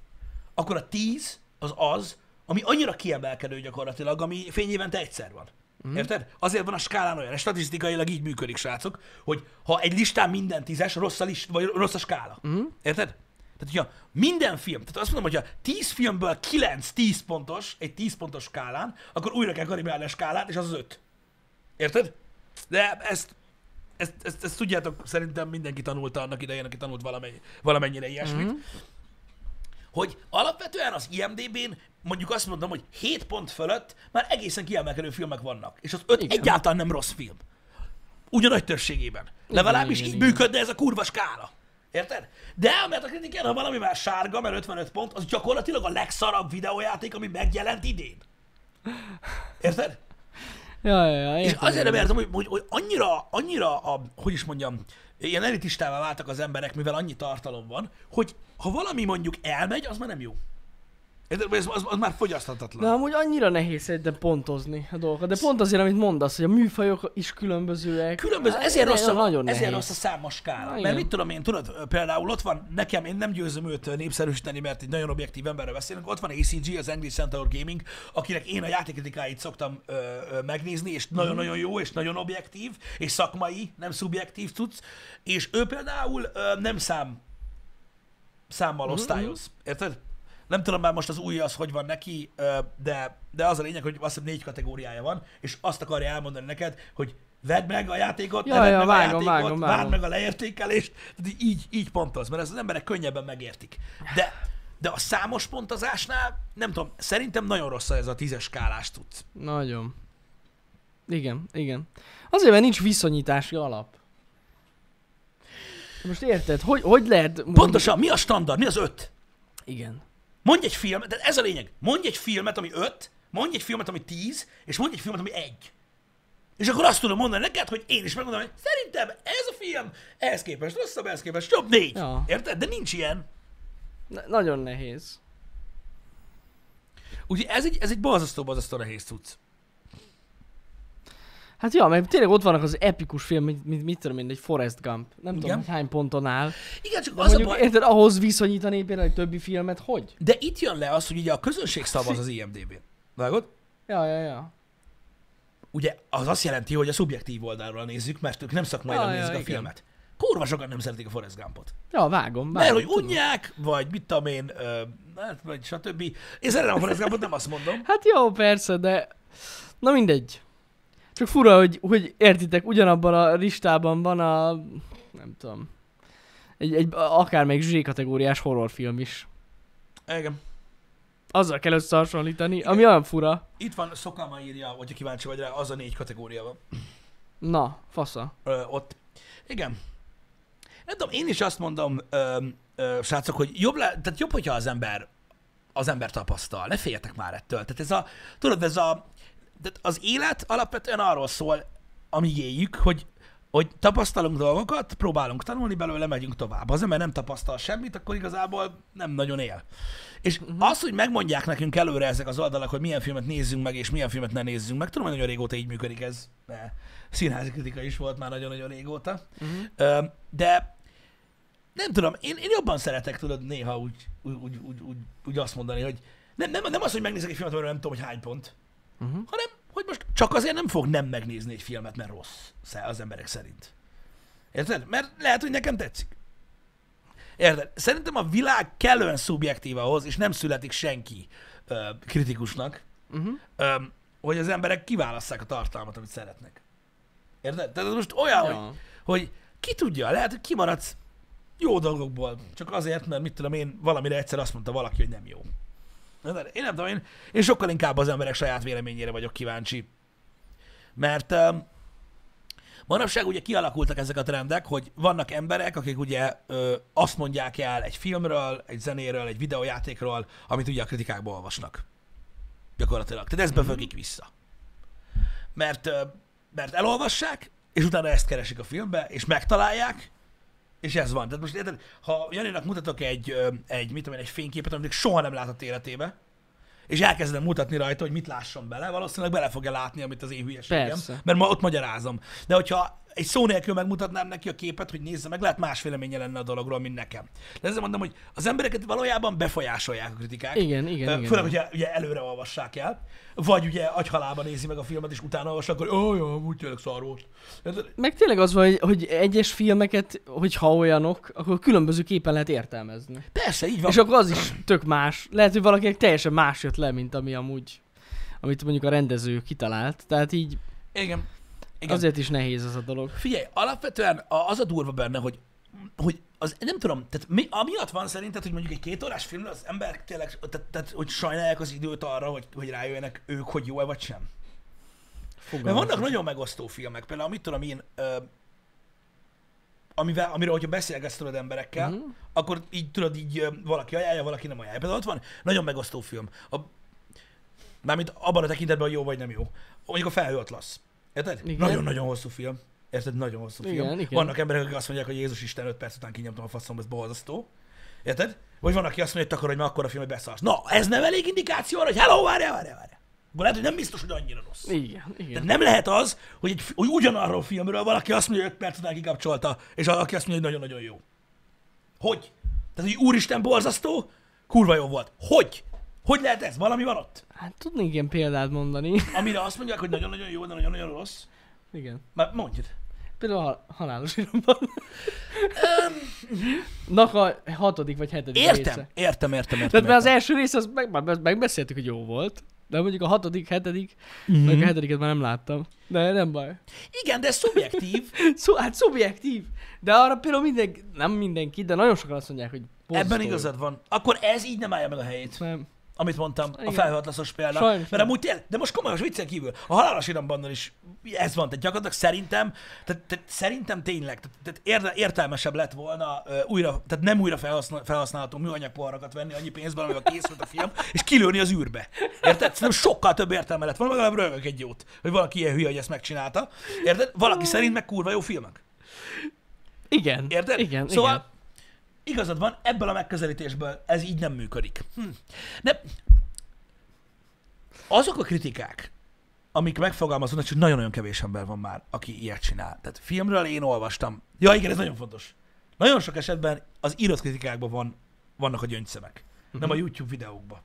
Speaker 1: akkor a 10 az az, ami annyira kiemelkedő gyakorlatilag, ami fényévente egyszer van. Mm. Érted? Azért van a skálán olyan, és statisztikailag így működik, srácok, hogy ha egy listán minden tízes, rossz a, list, vagy rossz a skála. Mm. Érted? Tehát, hogyha minden film, tehát azt mondom, hogyha 10 filmből 9 10 pontos, egy 10 pontos skálán, akkor újra kell kalibrálni a skálát, és az az 5. Érted? De ezt, ezt, ezt, ezt tudjátok, szerintem mindenki tanulta annak idején, aki tanult valamennyi, valamennyire ilyesmit.
Speaker 2: Mhm.
Speaker 1: Mm. Hogy alapvetően az IMDB-n mondjuk azt mondom, hogy 7 pont fölött már egészen kiemelkedő filmek vannak, és az 5
Speaker 2: Igen.
Speaker 1: egyáltalán nem rossz film. Ugyanagy többségében. Legalábbis
Speaker 2: igen,
Speaker 1: így
Speaker 2: igen.
Speaker 1: működne ez a kurva skála. Érted? De mert a kritikán, ha valami már sárga, mert 55 pont, az gyakorlatilag a legszarabb videójáték, ami megjelent idén. Érted?
Speaker 2: Ja, ja, ja,
Speaker 1: És
Speaker 2: értem,
Speaker 1: azért nem
Speaker 2: értem.
Speaker 1: értem, hogy, hogy, hogy annyira, annyira a, hogy is mondjam, ilyen elitistává váltak az emberek, mivel annyi tartalom van, hogy ha valami mondjuk elmegy, az már nem jó. Érted? Vagy Az, az, az már fogyaszthatatlan.
Speaker 2: De amúgy annyira nehéz szerintem pontozni a dolgokat. De pont azért, amit mondasz, hogy a műfajok is különbözőek.
Speaker 1: Különböző,
Speaker 2: Hát,
Speaker 1: ezért, rossz a,
Speaker 2: nagyon
Speaker 1: ezért
Speaker 2: nehéz.
Speaker 1: rossz a számos skála.
Speaker 2: Na,
Speaker 1: mert
Speaker 2: igen.
Speaker 1: mit tudom én, tudod, például ott van, nekem, én nem győzöm őt népszerűsíteni, mert egy nagyon objektív emberről beszélünk, ott van ACG, az Angry Centaur Gaming, akinek én a játékritikáit szoktam ö, ö, megnézni,
Speaker 2: Mhm.
Speaker 1: és nagyon-nagyon jó, és nagyon objektív, és szakmai, nem szubjektív tudsz, és ő például ö, nem szám
Speaker 2: Mhm.
Speaker 1: számmal osztályoz. Érted? Nem tudom már most az új az, hogy van neki, ö, de, de az a lényeg, hogy azt hiszem négy kategóriája van, és azt akarja elmondani neked, hogy vedd meg a játékot, ne
Speaker 2: Ja,
Speaker 1: vedd
Speaker 2: ja,
Speaker 1: meg a
Speaker 2: vágom,
Speaker 1: játékot,
Speaker 2: vágom,
Speaker 1: várd
Speaker 2: vágom.
Speaker 1: meg a leértékelést, tehát í- így, így pontoz, mert ezt az emberek könnyebben megértik. De, de a számos pontozásnál, nem tudom, szerintem nagyon rossz ez a tízes skálás tudsz.
Speaker 2: Nagyon. Igen, igen. Azért, mert nincs viszonyítási alap. Most érted? Hogy, hogy lehet... mondjuk-
Speaker 1: Pontosan, mi a standard, mi az öt?
Speaker 2: Igen.
Speaker 1: Mondj egy filmet, tehát ez a lényeg. Mondj egy filmet, ami 5, mondj egy filmet, ami 10, és mondj egy filmet, ami 1. És akkor azt tudom mondani neked, hogy én is megmondom, hogy szerintem ez a film ehhez képest rosszabb, ehhez képest jobb négy.
Speaker 2: Ja.
Speaker 1: Érted? De nincs ilyen.
Speaker 2: Na- nagyon nehéz.
Speaker 1: Úgyhogy ez egy, ez egy balzasztó, balzasztó nehéz cucc.
Speaker 2: Hát ja, mert tényleg ott vannak az epikus film, mint, mint mit tudom én, egy Forrest Gump. Nem Igen.
Speaker 1: Igen.
Speaker 2: tudom, hogy hány ponton áll.
Speaker 1: Igen, csak
Speaker 2: De
Speaker 1: az a
Speaker 2: mondjuk,
Speaker 1: baj,
Speaker 2: érted, ahhoz viszonyítani például egy többi filmet, hogy?
Speaker 1: de itt jön le az, hogy ugye a közönség szavaz az IMDB-n. Vágod?
Speaker 2: Ja, ja, ja.
Speaker 1: Ugye az azt jelenti, hogy a szubjektív oldalról nézzük, mert ők nem szakmailag
Speaker 2: Ja, ja,
Speaker 1: nézik a
Speaker 2: igen.
Speaker 1: filmet. Kurva sokan nem szeretik a Forrest Gumpot.
Speaker 2: Ja, vágom, vágom.
Speaker 1: Mert hogy
Speaker 2: tudom.
Speaker 1: unják, vagy mit tudom én, ö, hát, vagy stb. Én szeretem a Forrest Gumpot, nem azt mondom.
Speaker 2: Hát jó, persze, de... Na mindegy. Csak fura, hogy, hogy értitek, ugyanabban a listában van a... Nem tudom. Egy, egy a- akármelyik zsé kategóriás horrorfilm is.
Speaker 1: Igen.
Speaker 2: Azzal kell összehasonlítani, ami olyan fura.
Speaker 1: Itt van, Szokama írja, hogyha kíváncsi vagy rá, az a négy kategória van
Speaker 2: Na, fasza.
Speaker 1: ö, ott. Igen. Nem tudom, én is azt mondom, ö, ö, srácok, hogy jobb, le, tehát jobb, hogyha az ember az ember tapasztal. Ne féljetek már ettől. Tehát ez a, tudod, ez a, tehát az élet alapvetően arról szól, amíg éljük, hogy, hogy tapasztalunk dolgokat, próbálunk tanulni belőle, megyünk tovább. Az ember nem tapasztal semmit, akkor igazából nem nagyon él. És az, hogy megmondják nekünk előre ezek az oldalak, hogy milyen filmet nézzünk meg, és milyen filmet ne nézzünk meg, tudom, hogy nagyon régóta így működik ez, de színházi kritika is volt már nagyon-nagyon régóta. Ö, De nem tudom, én, én jobban szeretek, tudod, néha úgy, úgy, úgy, úgy, úgy, úgy azt mondani, hogy nem, nem, nem az, hogy megnézek egy filmet, amiről nem tudom, hogy hány pont,
Speaker 2: Mhm.
Speaker 1: hanem, hogy most csak azért nem fog nem megnézni egy filmet, mert rossz sze- az emberek szerint. Érted? Mert lehet, hogy nekem tetszik. Érted? Szerintem a világ kellően szubjektív ahhoz, és nem születik senki ö, kritikusnak,
Speaker 2: Uh-huh.
Speaker 1: ö, hogy az emberek kiválasszák a tartalmat, amit szeretnek. Érted? Tehát ez most olyan, ja. hogy
Speaker 2: Ja.
Speaker 1: hogy ki tudja, lehet, hogy kimaradsz jó dolgokból, csak azért, mert mit tudom én, valamire egyszer azt mondta valaki, hogy nem jó. Na, de Én nem tudom, én, én sokkal inkább az emberek saját véleményére vagyok kíváncsi. Mert um, manapság ugye kialakultak ezek a trendek, hogy vannak emberek, akik ugye ö, azt mondják el egy filmről, egy zenéről, egy videójátékról, amit ugye a kritikákból olvasnak. Gyakorlatilag. Tehát ez bevögik vissza. Mert ö, mert elolvassák, és utána ezt keresik a filmbe, és megtalálják, és ez van. Tehát most érted, ha Janinak mutatok egy, ö, egy, mit tudom én, egy fényképet, amit soha nem látott életébe, és elkezdem mutatni rajta, hogy mit lásson bele, valószínűleg bele fogja látni, amit az én hülyeségem,
Speaker 2: Persze.
Speaker 1: mert ma ott magyarázom. De hogyha egy szó nélkül megmutatnám neki a képet, hogy nézze meg, lehet más véleménye lenne a dologról, mint nekem. De ezzel mondom, hogy az embereket valójában befolyásolják a kritikák.
Speaker 2: Igen, igen,
Speaker 1: Ö,
Speaker 2: igen.
Speaker 1: Főleg, hogyha ugye előre olvassák el, vagy ugye agyhalában nézi meg a filmet, és utána olvassa, akkor ó, jó, úgy tényleg szar volt. Érted?
Speaker 2: Meg tényleg az van, hogy- hogy egyes filmeket, hogyha olyanok, akkor különböző képen lehet értelmezni.
Speaker 1: Persze, így van.
Speaker 2: És akkor az is tök más. Lehet, hogy valakinek teljesen más jött le, mint ami amúgy, amit mondjuk a rendező kitalált. Tehát így
Speaker 1: Igen. Igen.
Speaker 2: Igen. azért is nehéz ez a dolog.
Speaker 1: Figyelj, alapvetően a- az a durva benne, hogy, hogy az, nem tudom, tehát mi, amiatt van szerinted, hogy mondjuk egy két órás filmre az ember tényleg, tehát, tehát hogy sajnálják az időt arra, hogy, hogy rájöjjenek ők, hogy jó-e vagy sem. Mert
Speaker 2: Fogalmam
Speaker 1: vannak
Speaker 2: sincs.
Speaker 1: nagyon megosztó filmek, például mit tudom én, ö, amivel, amiről, hogyha beszélgetsz tudod emberekkel,
Speaker 2: Mhm.
Speaker 1: akkor így tudod, így ö, valaki ajánlja, valaki nem ajánlja. Például ott van nagyon megosztó film. A, mármint abban a tekintetben, hogy jó vagy nem jó. Mondjuk a felhőatlasz. Érted?
Speaker 2: Igen.
Speaker 1: Nagyon-nagyon hosszú film. Érted? Nagyon hosszú film.
Speaker 2: Igen, igen.
Speaker 1: Vannak emberek, akik azt mondják, hogy Jézus Isten 5 perc után kinyomtam a faszom, ez borzasztó. Érted? Vagy van, aki azt mondja, hogy takarodj, mert akkor a film, hogy beszarsz. Na, ez nem elég indikáció arra, hogy hello, várjál, várjál, várjál. Akkor lehet, hogy nem biztos, hogy annyira rossz.
Speaker 2: Igen,
Speaker 1: Tehát
Speaker 2: igen.
Speaker 1: nem lehet az, hogy, egy, hogy ugyanarról a filmről valaki azt mondja, hogy 5 perc után kikapcsolta, és aki azt mondja, hogy nagyon-nagyon jó. Hogy? Tehát, hogy úristen borzasztó, kurva jó volt. Hogy? Hogy lehet ez? Valami van ott?
Speaker 2: Hát tudnék ilyen példát mondani. [LAUGHS]
Speaker 1: Amire azt mondják, hogy nagyon-nagyon jó, de nagyon-nagyon rossz.
Speaker 2: Igen.
Speaker 1: Már mondjad.
Speaker 2: Például a hal- halálos iramban. Nak a hatodik vagy hetedik
Speaker 1: Értem,
Speaker 2: része.
Speaker 1: értem, értem, értem.
Speaker 2: Tehát
Speaker 1: értem.
Speaker 2: már az első rész, az meg, már meg- megbeszéltük, hogy jó volt. De mondjuk a hatodik, hetedik,
Speaker 1: Mhm.
Speaker 2: mm-hmm. mondjuk a hetediket már nem láttam. De nem baj.
Speaker 1: Igen, de ez szubjektív.
Speaker 2: Szó, hát szubjektív. De arra például mindenki, nem mindenki, de nagyon sokan azt mondják, hogy borzasztó
Speaker 1: Ebben
Speaker 2: jó.
Speaker 1: igazad van. Akkor ez így nem állja meg a helyét.
Speaker 2: Nem.
Speaker 1: amit mondtam, a
Speaker 2: Igen.
Speaker 1: felhatlaszos példa.
Speaker 2: Sajnos
Speaker 1: mert
Speaker 2: nem.
Speaker 1: amúgy tél, de most komolyos viccen kívül, a halálos irambannon is ez van, tehát gyakorlatilag szerintem, tehát, tehát szerintem tényleg, tehát, tehát érde, értelmesebb lett volna ö, újra, tehát nem újra felhasznál, felhasználható műanyagpoharakat venni annyi pénzből, amivel készült a film, és kilőni az űrbe. Érted? Szerintem sokkal több értelme lett volna, legalább rögök egy jót, hogy valaki ilyen hülye, hogy ezt megcsinálta. Érted? Valaki
Speaker 2: Mm.
Speaker 1: szerint meg kurva jó filmek.
Speaker 2: Igen.
Speaker 1: Érted?
Speaker 2: Igen,
Speaker 1: szóval,
Speaker 2: igen.
Speaker 1: igazad van, ebből a megközelítésből ez így nem működik. Hm. De azok a kritikák, amik megfogalmazódnak, csak nagyon-nagyon kevés ember van már, aki ilyet csinál. Tehát filmről én olvastam. Ja, igen, ez nagyon fontos. Nagyon sok esetben az írott kritikákban van, vannak a gyöngyszemek.
Speaker 2: Mhm.
Speaker 1: Nem a YouTube videókban.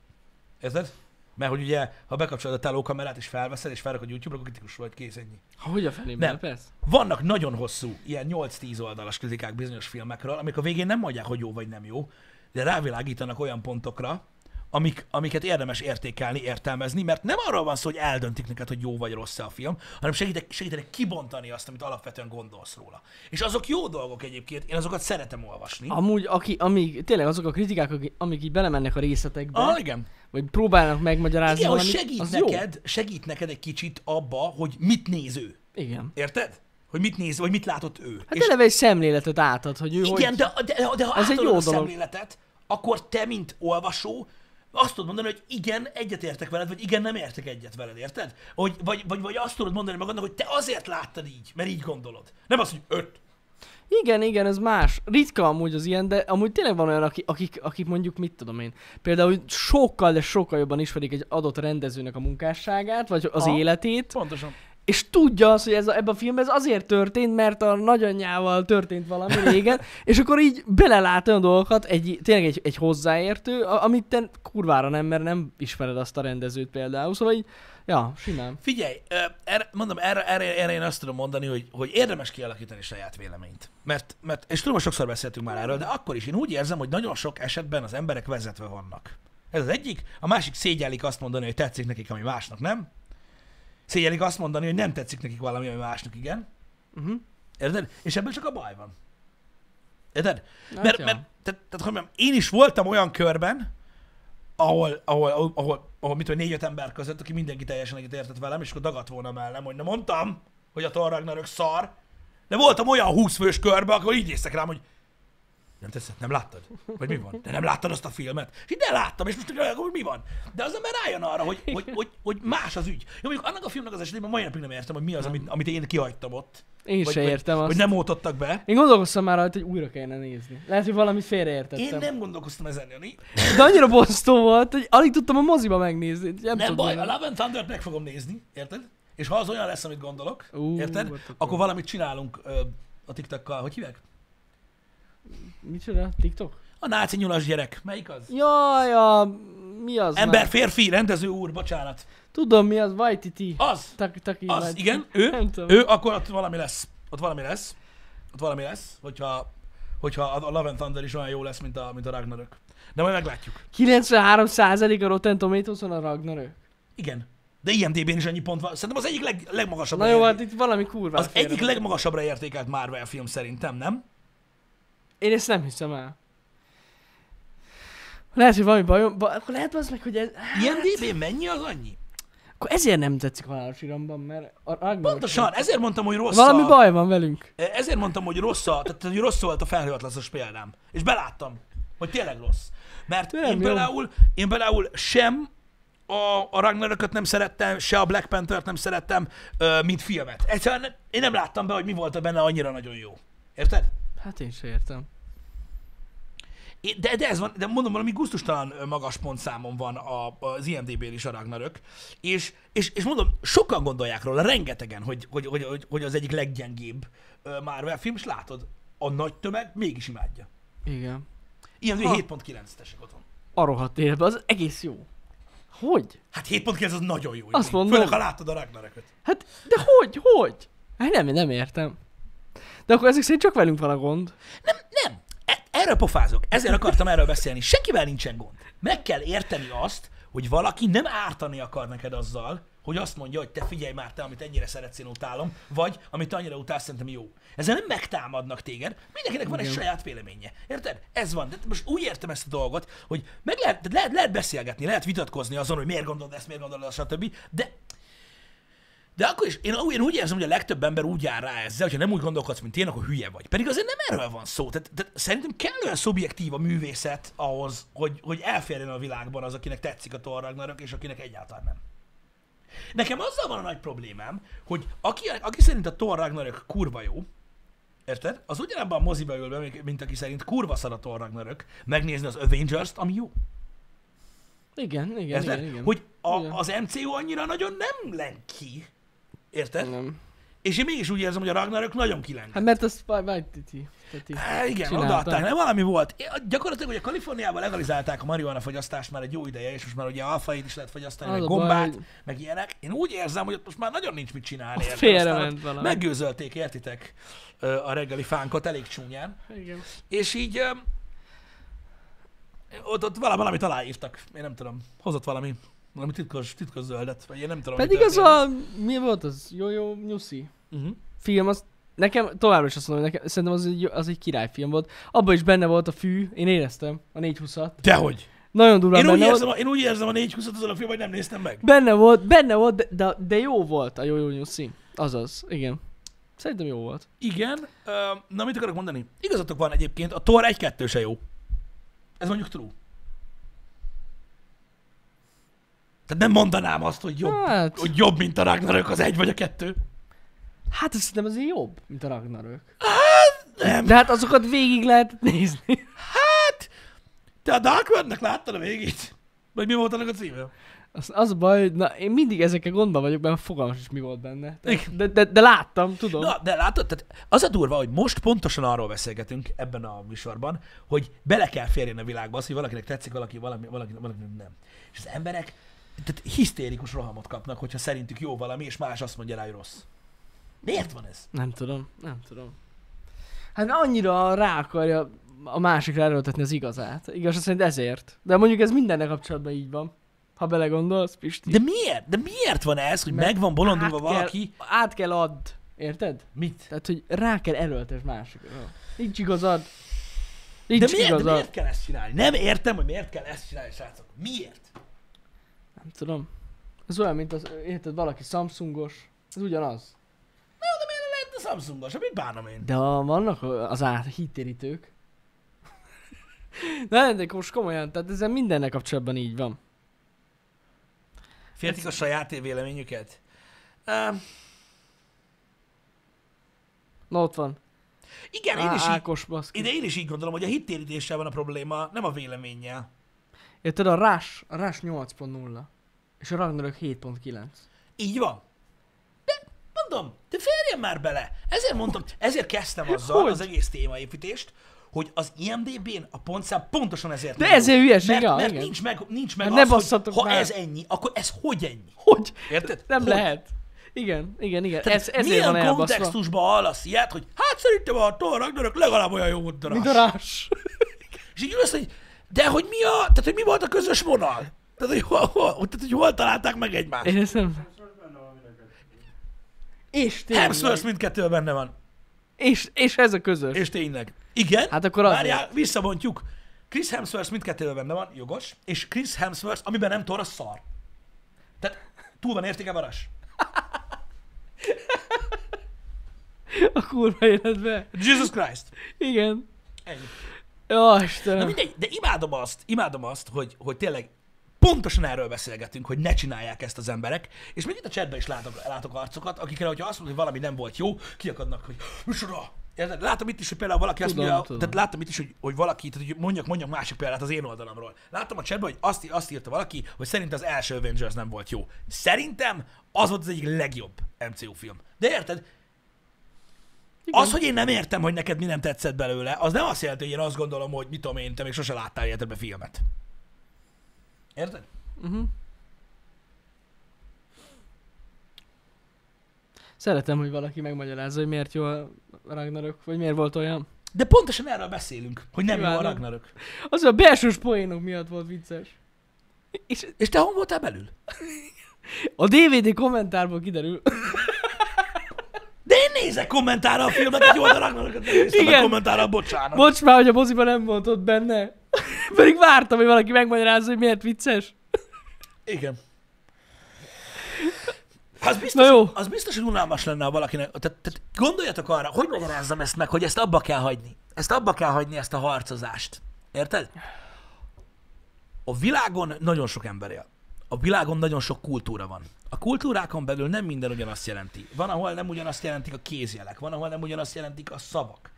Speaker 1: Érted? Mert hogy ugye, ha bekapcsolod a telókamerát és felveszed, és felrakod YouTube-ra, akkor kritikus vagy, kész ennyi.
Speaker 2: Ha, hogy a fenében?
Speaker 1: Nem.
Speaker 2: Nem. Persze.
Speaker 1: Vannak nagyon hosszú, ilyen 8-10 oldalas kritikák bizonyos filmekről, amik a végén nem mondják, hogy jó vagy nem jó, de rávilágítanak olyan pontokra, amik, amiket érdemes értékelni, értelmezni, mert nem arról van szó, hogy eldöntik neked, hogy jó vagy rossz a film, hanem segítenek, segítenek kibontani azt, amit alapvetően gondolsz róla. És azok jó dolgok egyébként, én azokat szeretem olvasni.
Speaker 2: Amúgy, aki, amíg, tényleg azok a kritikák, akik- amik így belemennek a részletekbe,
Speaker 1: Ah, igen.
Speaker 2: vagy próbálnak megmagyarázni
Speaker 1: Igen, hogy
Speaker 2: valamit,
Speaker 1: segít
Speaker 2: az
Speaker 1: neked, segít neked egy kicsit abba, hogy mit néz ő.
Speaker 2: Jó. Igen.
Speaker 1: Érted? Hogy mit néz, vagy mit látott ő.
Speaker 2: Hát eleve egy szemléletet átad, hogy ő
Speaker 1: Igen,
Speaker 2: hogy...
Speaker 1: de, de, de, de ha
Speaker 2: Ez egy
Speaker 1: átadod
Speaker 2: jó
Speaker 1: a
Speaker 2: dolog.
Speaker 1: szemléletet, akkor te, mint olvasó, azt tudod mondani, hogy igen, egyetértek veled, vagy igen, nem értek egyet veled, érted? Hogy, vagy, vagy, vagy azt tudod mondani magadnak, hogy te azért láttad így, mert így gondolod. Nem azt, hogy öt.
Speaker 2: Igen, igen, ez más. Ritka amúgy az ilyen, de amúgy tényleg van olyan, akik, akik, akik mondjuk, mit tudom én, például sokkal, de sokkal jobban ismerik egy adott rendezőnek a munkásságát, vagy az
Speaker 1: Aha.
Speaker 2: életét,
Speaker 1: Pontosan.
Speaker 2: és tudja azt, hogy ez a, ebben a filmben ez azért történt, mert a nagyanyjával történt valami
Speaker 1: [LAUGHS]
Speaker 2: régen, és akkor így belelát olyan dolgokat, egy, tényleg egy, egy hozzáértő, a- amit te kurvára nem, mert nem ismered azt a rendezőt például, szóval így, ja, simán.
Speaker 1: Figyelj, ö, erre, mondom, erre, erre, erre én azt tudom mondani, hogy, hogy érdemes kialakítani saját véleményt. Mert, mert, és tudom, hogy sokszor beszéltünk már erről, de akkor is én úgy érzem, hogy nagyon sok esetben az emberek vezetve vannak. Ez az egyik. A másik szégyellik azt mondani, hogy tetszik nekik, ami másnak nem. Szégyellik azt mondani, hogy nem tetszik nekik valami, ami másnak igen.
Speaker 2: Uh-huh.
Speaker 1: Érted? És ebben csak a baj van. Érted?
Speaker 2: Hát
Speaker 1: mert,
Speaker 2: ja.
Speaker 1: mert tehát, tehát, hogy mondjam, én is voltam olyan körben, ahol, ahol, ahol, ahol, ahol mit tudom, négy-öt ember között, aki mindenki teljesen egyet értett velem, és akkor dagadt volna mellem, hogy na mondtam, hogy a Thor Ragnarök szar, de voltam olyan húszfős körben, akkor így néztek rám, hogy nem teszed, nem láttad? Vagy mi van? De nem láttad azt a filmet? És így, de láttam, és most akkor mi van? De az ember rájön arra, hogy, hogy, hogy, hogy más az ügy. Jó, mondjuk annak a filmnek az esetében mai napig nem értem, hogy mi az, amit, amit én kihagytam ott.
Speaker 2: Én
Speaker 1: Vagy-
Speaker 2: se
Speaker 1: vagy-
Speaker 2: értem azt.
Speaker 1: Hogy nem ótottak be.
Speaker 2: Én gondolkoztam már rajta, hogy újra kellene nézni. Lehet, hogy valami félreértettem.
Speaker 1: Én nem gondolkoztam ezen, Jani.
Speaker 2: De annyira bosztó volt, hogy alig tudtam a moziba megnézni. Nem,
Speaker 1: Nem
Speaker 2: tudom.
Speaker 1: baj, a Love and Thunder-t meg fogom nézni, érted? És ha az olyan lesz, amit gondolok,
Speaker 2: Ú,
Speaker 1: Érted?
Speaker 2: hát
Speaker 1: akkor valamit csinálunk ö, a TikTokkal. Hogy hívják?
Speaker 2: Micsoda? TikTok?
Speaker 1: A náci nyulas gyerek. Melyik az?
Speaker 2: Jaj, a... Mi az
Speaker 1: Ember,
Speaker 2: már?
Speaker 1: férfi, rendező úr, bocsánat.
Speaker 2: Tudom mi az, Vajtiti.
Speaker 1: Az!
Speaker 2: Taki, taki,
Speaker 1: Az,
Speaker 2: Vajtiti.
Speaker 1: igen, ő.
Speaker 2: Nem tudom.
Speaker 1: Ő, akkor ott valami lesz. Ott valami lesz. Ott valami lesz, hogyha, hogyha a Love and Thunder is olyan jó lesz, mint a, mint a Ragnarök. De majd meglátjuk.
Speaker 2: 93% a Rotten Tomatoes-on a Ragnarök.
Speaker 1: Igen. De IMDB-n is annyi pont van. Szerintem az egyik leg, legmagasabb.
Speaker 2: Na jó, hát itt valami kurva.
Speaker 1: az egyik legmagasabbra értékelt Marvel film szerintem, nem?
Speaker 2: Én ezt nem hiszem el. Lehet, hogy valami bajom, ba, akkor lehet az meg, hogy ez...
Speaker 1: IMDB mennyi az annyi?
Speaker 2: Akkor ezért nem tetszik halálos iramban, mert a Ragnarök...
Speaker 1: Pontosan, ezért mondtam, hogy rossz
Speaker 2: Valami
Speaker 1: a...
Speaker 2: baj van velünk.
Speaker 1: Ezért mondtam, hogy rossz, a, tehát, hogy rossz volt a felhőatlaszos példám. És beláttam, hogy tényleg rossz. Mert
Speaker 2: Tényleg
Speaker 1: én
Speaker 2: jó.
Speaker 1: például, én például sem a, a Ragnarököt nem szerettem, se a Black Panther-t nem szerettem, ö, mint filmet. Egyszerűen ne- én nem láttam be, hogy mi volt benne annyira nagyon jó. Érted?
Speaker 2: Hát én se értem.
Speaker 1: Én- De, de ez van, de mondom, valami gusztustalan ö, magas pontszámon van a, az IMDB-n is a Ragnarök, és, és, és mondom, sokan gondolják róla, rengetegen, hogy, hogy, hogy, hogy, hogy az egyik leggyengébb ö, Marvel film, és látod, a nagy tömeg mégis imádja.
Speaker 2: Igen.
Speaker 1: Ilyen
Speaker 2: Ha.
Speaker 1: 7.9-esek otthon.
Speaker 2: A rohadt életben, az egész jó. Hogy?
Speaker 1: Hát 7.9 az nagyon jó.
Speaker 2: Azt
Speaker 1: idő.
Speaker 2: mondom.
Speaker 1: Főleg, ha láttad a Ragnarököt.
Speaker 2: Hát, de hogy, hogy? Hát nem, nem értem. De akkor ezek szerint csak velünk van a gond.
Speaker 1: Nem, e- erről pofázok, ezért akartam erről beszélni. Senkivel nincsen gond. Meg kell érteni azt, hogy valaki nem ártani akar neked azzal, hogy azt mondja, hogy te figyelj már te, amit ennyire szeretsz, én utálom, vagy amit te annyira utálsz, szerintem jó. Ezzel nem megtámadnak téged, mindenkinek van egy saját véleménye. Érted? Ez van. De most úgy értem ezt a dolgot, hogy meg lehet, de lehet, lehet beszélgetni, lehet vitatkozni azon, hogy miért gondolod ezt, miért gondolod azt, stb. De de akkor is, én, úgy- én úgy érzem, hogy a legtöbb ember úgy jár rá ezzel, hogyha nem úgy gondolkodsz, mint én, akkor hülye vagy. Pedig azért
Speaker 2: Hát-
Speaker 1: nem erről van szó. Tehát, tehát szerintem kellően szubjektív a művészet ahhoz, hogy, hogy elférjen a világban az, akinek tetszik a Thor Ragnarök, és akinek egyáltalán nem. Nekem azzal van a nagy problémám, hogy aki, aki szerint a Thor Ragnarök kurva jó, érted? Az ugyanabban a moziba ül be, mint- mint aki szerint kurva szar a Thor Ragnarök, megnézni az Avengers-t, ami jó.
Speaker 2: Igen, igen,
Speaker 1: Érted?
Speaker 2: igen, igen.
Speaker 1: Hogy a,
Speaker 2: Igen.
Speaker 1: az MCU annyira nagyon nem lenki. Érted?
Speaker 2: Nem.
Speaker 1: És én mégis úgy érzem, hogy a Ragnarök nagyon kileng.
Speaker 2: Hát mert az Vajtiti. Teti.
Speaker 1: Há, igen,
Speaker 2: csinálták.
Speaker 1: odaadták, nem valami volt. É, Gyakorlatilag ugye Kaliforniában legalizálták a marihuana fogyasztást már egy jó ideje, és most már ugye alfait is lehet fogyasztani,
Speaker 2: Az
Speaker 1: meg
Speaker 2: a baj,
Speaker 1: gombát,
Speaker 2: hogy-
Speaker 1: meg ilyenek. Én úgy érzem, hogy ott most már nagyon nincs mit csinálni.
Speaker 2: Ott
Speaker 1: érted?
Speaker 2: félrement
Speaker 1: Aztán ott
Speaker 2: valami.
Speaker 1: Megőzölték, értitek ö, a reggeli fánkot elég csúnyán.
Speaker 2: Igen.
Speaker 1: És így öm, ott, ott vala- valamit aláírtak. Én nem tudom. Hozott valami, valami titkos, titkos zöldet, vagy én nem tudom. mi
Speaker 2: Pedig az
Speaker 1: történt.
Speaker 2: a... Mi volt az? Jó, jó, nyuszi.
Speaker 1: Uh-huh.
Speaker 2: film, az nekem továbbra is azt mondom, hogy nekem, szerintem az egy, az egy királyfilm volt. Abban is benne volt a fű, én éreztem, a 420-at.
Speaker 1: Dehogy.
Speaker 2: Nagyon durván
Speaker 1: Én úgy,
Speaker 2: benne volt.
Speaker 1: érzem, a- én úgy érzem a 420-at azon a filmben, hogy nem néztem meg.
Speaker 2: Benne volt, benne volt, de, de, de jó volt a jó jó nyuszi. Azaz, igen. Szerintem jó volt.
Speaker 1: Igen. Ö, na, mit akarok mondani? Igazatok van egyébként, a Thor 1-2 se jó. Ez mondjuk true. Tehát nem mondanám azt, hogy jobb,
Speaker 2: Hát.
Speaker 1: hogy jobb mint a Ragnarök az egy vagy a kettő.
Speaker 2: Hát ez szerintem azért jobb, mint a Ragnarök.
Speaker 1: Nem.
Speaker 2: De hát azokat végig lehet nézni.
Speaker 1: Te a Darkworld-nek láttad a végét? Vagy mi volt annak a címe?
Speaker 2: Az, az a baj, hogy na, én mindig ezekkel gondban vagyok, mert fogalmas is mi volt benne.
Speaker 1: Igen.
Speaker 2: De, de, de láttam, tudom.
Speaker 1: Na, de látod, tehát az a durva, hogy most pontosan arról beszélgetünk ebben a műsorban, hogy bele kell férjen a világba az, hogy valakinek tetszik, valaki, valami, valaki, valakinek nem. És az emberek tehát hisztérikus rohamot kapnak, hogyha szerintük jó valami, és más azt mondja rá, hogy rossz. Miért van ez?
Speaker 2: Nem tudom, nem tudom. Hát annyira rá akarja a másikra erőltetni az igazát. Igaz, szerint ezért. De mondjuk ez mindennek kapcsolatban így van. Ha belegondolsz, Pisti.
Speaker 1: De miért? De miért van ez, hogy meg van bolondulva
Speaker 2: kell,
Speaker 1: valaki?
Speaker 2: Át kell add. Érted?
Speaker 1: Mit?
Speaker 2: Tehát, hogy rá kell erőltetni másikra. Nincs igazad.
Speaker 1: De
Speaker 2: Nincs
Speaker 1: miért, de
Speaker 2: igazad.
Speaker 1: miért kell ezt csinálni? Nem értem, hogy miért kell ezt csinálni, srácok. Miért?
Speaker 2: Nem tudom. Ez olyan, mint az, érted, valaki Samsungos. Ez ugyanaz.
Speaker 1: Na, de miért lehet Hát a Samsungos? Amit bánom én.
Speaker 2: De a, vannak az át hittérítők. Nem, de most komolyan, tehát ezzel mindennek kapcsolatban így van.
Speaker 1: Féltik a saját véleményüket? Um,
Speaker 2: Na ott van.
Speaker 1: igen, én
Speaker 2: Á, hát
Speaker 1: is így
Speaker 2: Ákos baszki.
Speaker 1: Ide én is így gondolom, hogy a hittérítéssel van a probléma, nem a véleménnyel.
Speaker 2: Érted, a rás, a rás 8.0. És a Ragnarök 7.9.
Speaker 1: Így van. mondom, te férjen már bele. Ezért mondtam, ezért kezdtem azzal
Speaker 2: Hogy?
Speaker 1: az egész témaépítést, hogy az IMDB-n a pontszám pontosan ezért
Speaker 2: De
Speaker 1: nem jó.
Speaker 2: ezért hülyeség,
Speaker 1: mert,
Speaker 2: ja,
Speaker 1: mert
Speaker 2: igen.
Speaker 1: nincs meg, nincs meg
Speaker 2: Hát
Speaker 1: az,
Speaker 2: ne
Speaker 1: hogy
Speaker 2: basszatok
Speaker 1: ha
Speaker 2: már.
Speaker 1: ez ennyi, akkor ez hogy ennyi?
Speaker 2: Hogy?
Speaker 1: Érted?
Speaker 2: Nem
Speaker 1: Hogy?
Speaker 2: lehet. Igen, igen, igen.
Speaker 1: Tehát
Speaker 2: Ez, ezért van
Speaker 1: milyen
Speaker 2: elbaszva.
Speaker 1: kontextusban hallasz ilyet, hogy hát szerintem a Thor Ragnarök legalább olyan jó volt,
Speaker 2: Mint
Speaker 1: mint
Speaker 2: a
Speaker 1: a Rás.
Speaker 2: rás.
Speaker 1: És így ülsz, hogy de hogy mi a, tehát hogy mi volt a közös vonal? Tehát, hogy hol, hol, tehát, hogy hol találták meg egymást?
Speaker 2: Én ezt nem...
Speaker 3: És most benne van mind a kettő.
Speaker 2: És tényleg.
Speaker 1: Hemsworth mindkettőben benne van.
Speaker 2: És, és ez a közös.
Speaker 1: És tényleg. Igen.
Speaker 2: Hát akkor az
Speaker 1: Várjál, visszabontjuk. Chris Hemsworth mindkettőben benne van, jogos. És Chris Hemsworth, amiben nem Thor, az szar. Tehát túl van értéke varas.
Speaker 2: A kurva életbe.
Speaker 1: Jesus Christ.
Speaker 2: Igen.
Speaker 1: Ennyi.
Speaker 2: Jó,
Speaker 1: Na
Speaker 2: Istenem.
Speaker 1: mindegy, de imádom azt, imádom azt, hogy, hogy tényleg pontosan erről beszélgetünk, hogy ne csinálják ezt az emberek, és még itt a chatben is látok, látok arcokat, akikre, hogyha azt mondod, hogy valami nem volt jó, kiakadnak, hogy micsoda! Érted? Látom itt is, hogy például valaki azt
Speaker 2: Tudom,
Speaker 1: mondja,
Speaker 2: tudom.
Speaker 1: tehát láttam itt is, hogy, hogy valaki, tehát hogy mondjak, mondjak másik példát az én oldalamról. Láttam a chatben, hogy azt, azt írta valaki, hogy szerint az első Avengers nem volt jó. Szerintem az volt az egyik legjobb MCU film. De érted? Igen. Az, hogy én nem értem, hogy neked mi nem tetszett belőle, az nem azt jelenti, hogy én azt gondolom, hogy mit tudom én, te még sose láttál életedben filmet. Érted?
Speaker 2: Szeretem, hogy valaki megmagyarázza, hogy miért jó a Ragnarök, vagy miért volt olyan.
Speaker 1: De pontosan erről beszélünk, hogy nem jó a
Speaker 2: Imádom.
Speaker 1: Ragnarök.
Speaker 2: Az a belsős poénok miatt volt vicces. És
Speaker 1: És te hon voltál belül?
Speaker 2: a DVD kommentárból kiderül. [COUGHS]
Speaker 1: De én nézek kommentára a filmet, egy oldal Ragnarököt nem néztem meg
Speaker 2: Igen.
Speaker 1: kommentára, bocsánat.
Speaker 2: Bocs már, hogy a moziban nem volt ott benne. [COUGHS] Pedig vártam, hogy valaki megmagyarázza, hogy miért vicces.
Speaker 1: Igen. Az biztos,
Speaker 2: Na jó.
Speaker 1: az biztos, hogy unalmas lenne, ha valakinek... Tehát, tehát gondoljatok arra, hogy magyarázzam ezt meg, hogy ezt abba kell hagyni. Ezt abba kell hagyni, ezt a harcozást. Érted? A világon nagyon sok ember él. A világon nagyon sok kultúra van. A kultúrákon belül nem minden ugyanazt jelenti. Van, ahol nem ugyanazt jelentik a kézjelek, van, ahol nem ugyanazt jelentik a szavak.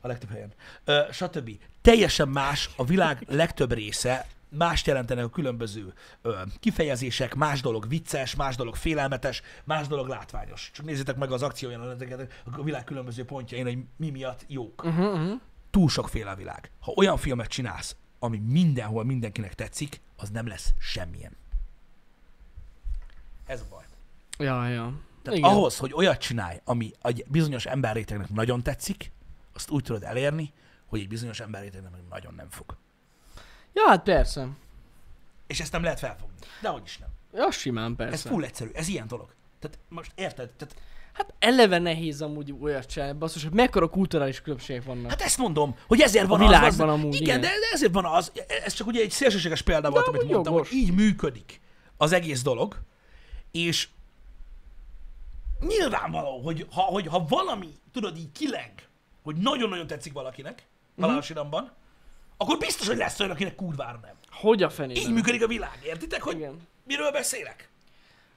Speaker 1: A legtöbb helyen. Ö, stb. Teljesen más a világ legtöbb része, mást jelentenek a különböző ö, kifejezések, más dolog vicces, más dolog félelmetes, más dolog látványos. Csak nézzétek meg az akciójeleneteket a világ különböző pontjain, hogy mi miatt jók
Speaker 2: Uh-huh, uh-huh.
Speaker 1: túl sokféle a világ. Ha olyan filmet csinálsz, ami mindenhol mindenkinek tetszik, az nem lesz semmilyen. Ez a baj.
Speaker 2: Ja, ja.
Speaker 1: Tehát
Speaker 2: Igen.
Speaker 1: Igen. ahhoz, hogy olyat csinálj, ami egy bizonyos emberrétegnek nagyon tetszik, azt úgy tudod elérni, hogy egy bizonyos emberrétegnek meg nagyon nem fog.
Speaker 2: Ja, hát persze.
Speaker 1: És ezt nem lehet felfogni. Dehogy is nem.
Speaker 2: Ja, simán
Speaker 1: Ez
Speaker 2: persze.
Speaker 1: full egyszerű, ez ilyen dolog. Tehát most érted? Tehát,
Speaker 2: Hát eleve nehéz amúgy olyat csinálni, basszus, hogy mekkora kulturális különbségek vannak. Hát,
Speaker 1: hát ezt mondom, hogy ezért van az.
Speaker 2: világban
Speaker 1: az-
Speaker 2: amúgy,
Speaker 1: Igen,
Speaker 2: igen.
Speaker 1: de de ezért van az. Ez csak ugye egy szélsőséges példa volt, amit
Speaker 2: amúgy
Speaker 1: mondtam,
Speaker 2: jogos.
Speaker 1: hogy így működik az egész dolog. És nyilvánvaló, hogy ha, hogy ha valami, tudod, így kileg, hogy nagyon-nagyon tetszik valakinek,
Speaker 2: Mhm.
Speaker 1: halálos iramban, akkor biztos, hogy lesz olyan, akinek kurvára nem.
Speaker 2: hogy a fenében?
Speaker 1: Így működik a világ, értitek, hogy
Speaker 2: Igen.
Speaker 1: miről beszélek?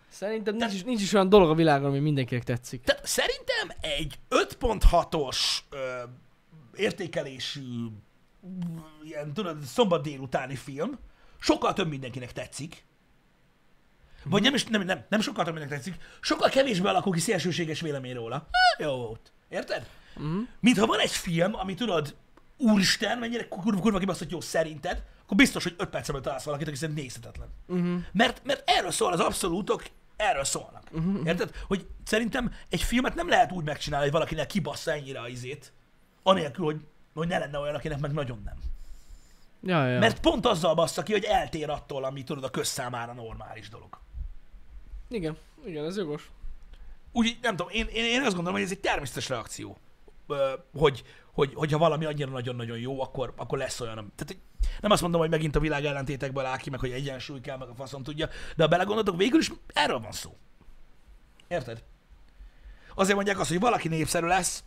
Speaker 2: Szerintem nincs is, nincs is olyan dolog a világon, ami mindenkinek tetszik.
Speaker 1: Tehát szerintem egy 5.6-os ö, értékelésű, mm, ilyen tudod, szombat délutáni film sokkal több mindenkinek tetszik. Vagy nem is, nem, nem, nem sokkal több mindenkinek tetszik, sokkal kevésbé alakul ki szélsőséges vélemény róla. Há, jó volt. Érted? Mm. Mintha van egy film, ami tudod, úristen, mennyire kurva, kurva kibaszott jó szerinted, akkor biztos, hogy 5 percben találsz valakit, aki szerintem nézhetetlen. Uh-huh. Mert, mert erről szól az abszolútok, erről szólnak. Uh-huh. Érted? Hogy szerintem egy filmet nem lehet úgy megcsinálni, hogy valakinek kibassza ennyire a izét, anélkül, hogy, hogy ne lenne olyan, akinek meg nagyon nem.
Speaker 2: Ja, ja.
Speaker 1: Mert pont azzal bassza ki, hogy eltér attól, ami tudod a közszámára normális dolog.
Speaker 2: Igen, igen, ez jogos.
Speaker 1: úgy, nem tudom, én, én, én azt gondolom, hogy ez egy természetes reakció. Ö, Hogy, hogy, hogyha valami annyira nagyon-nagyon jó, akkor, akkor lesz olyan. am- Tehát hogy nem azt mondom, hogy megint a világ ellentétekből áll ki, meg hogy egyensúly kell, meg a faszom tudja, de ha belegondoltok, végül is erről van szó. Érted? Azért mondják azt, hogy valaki népszerű lesz,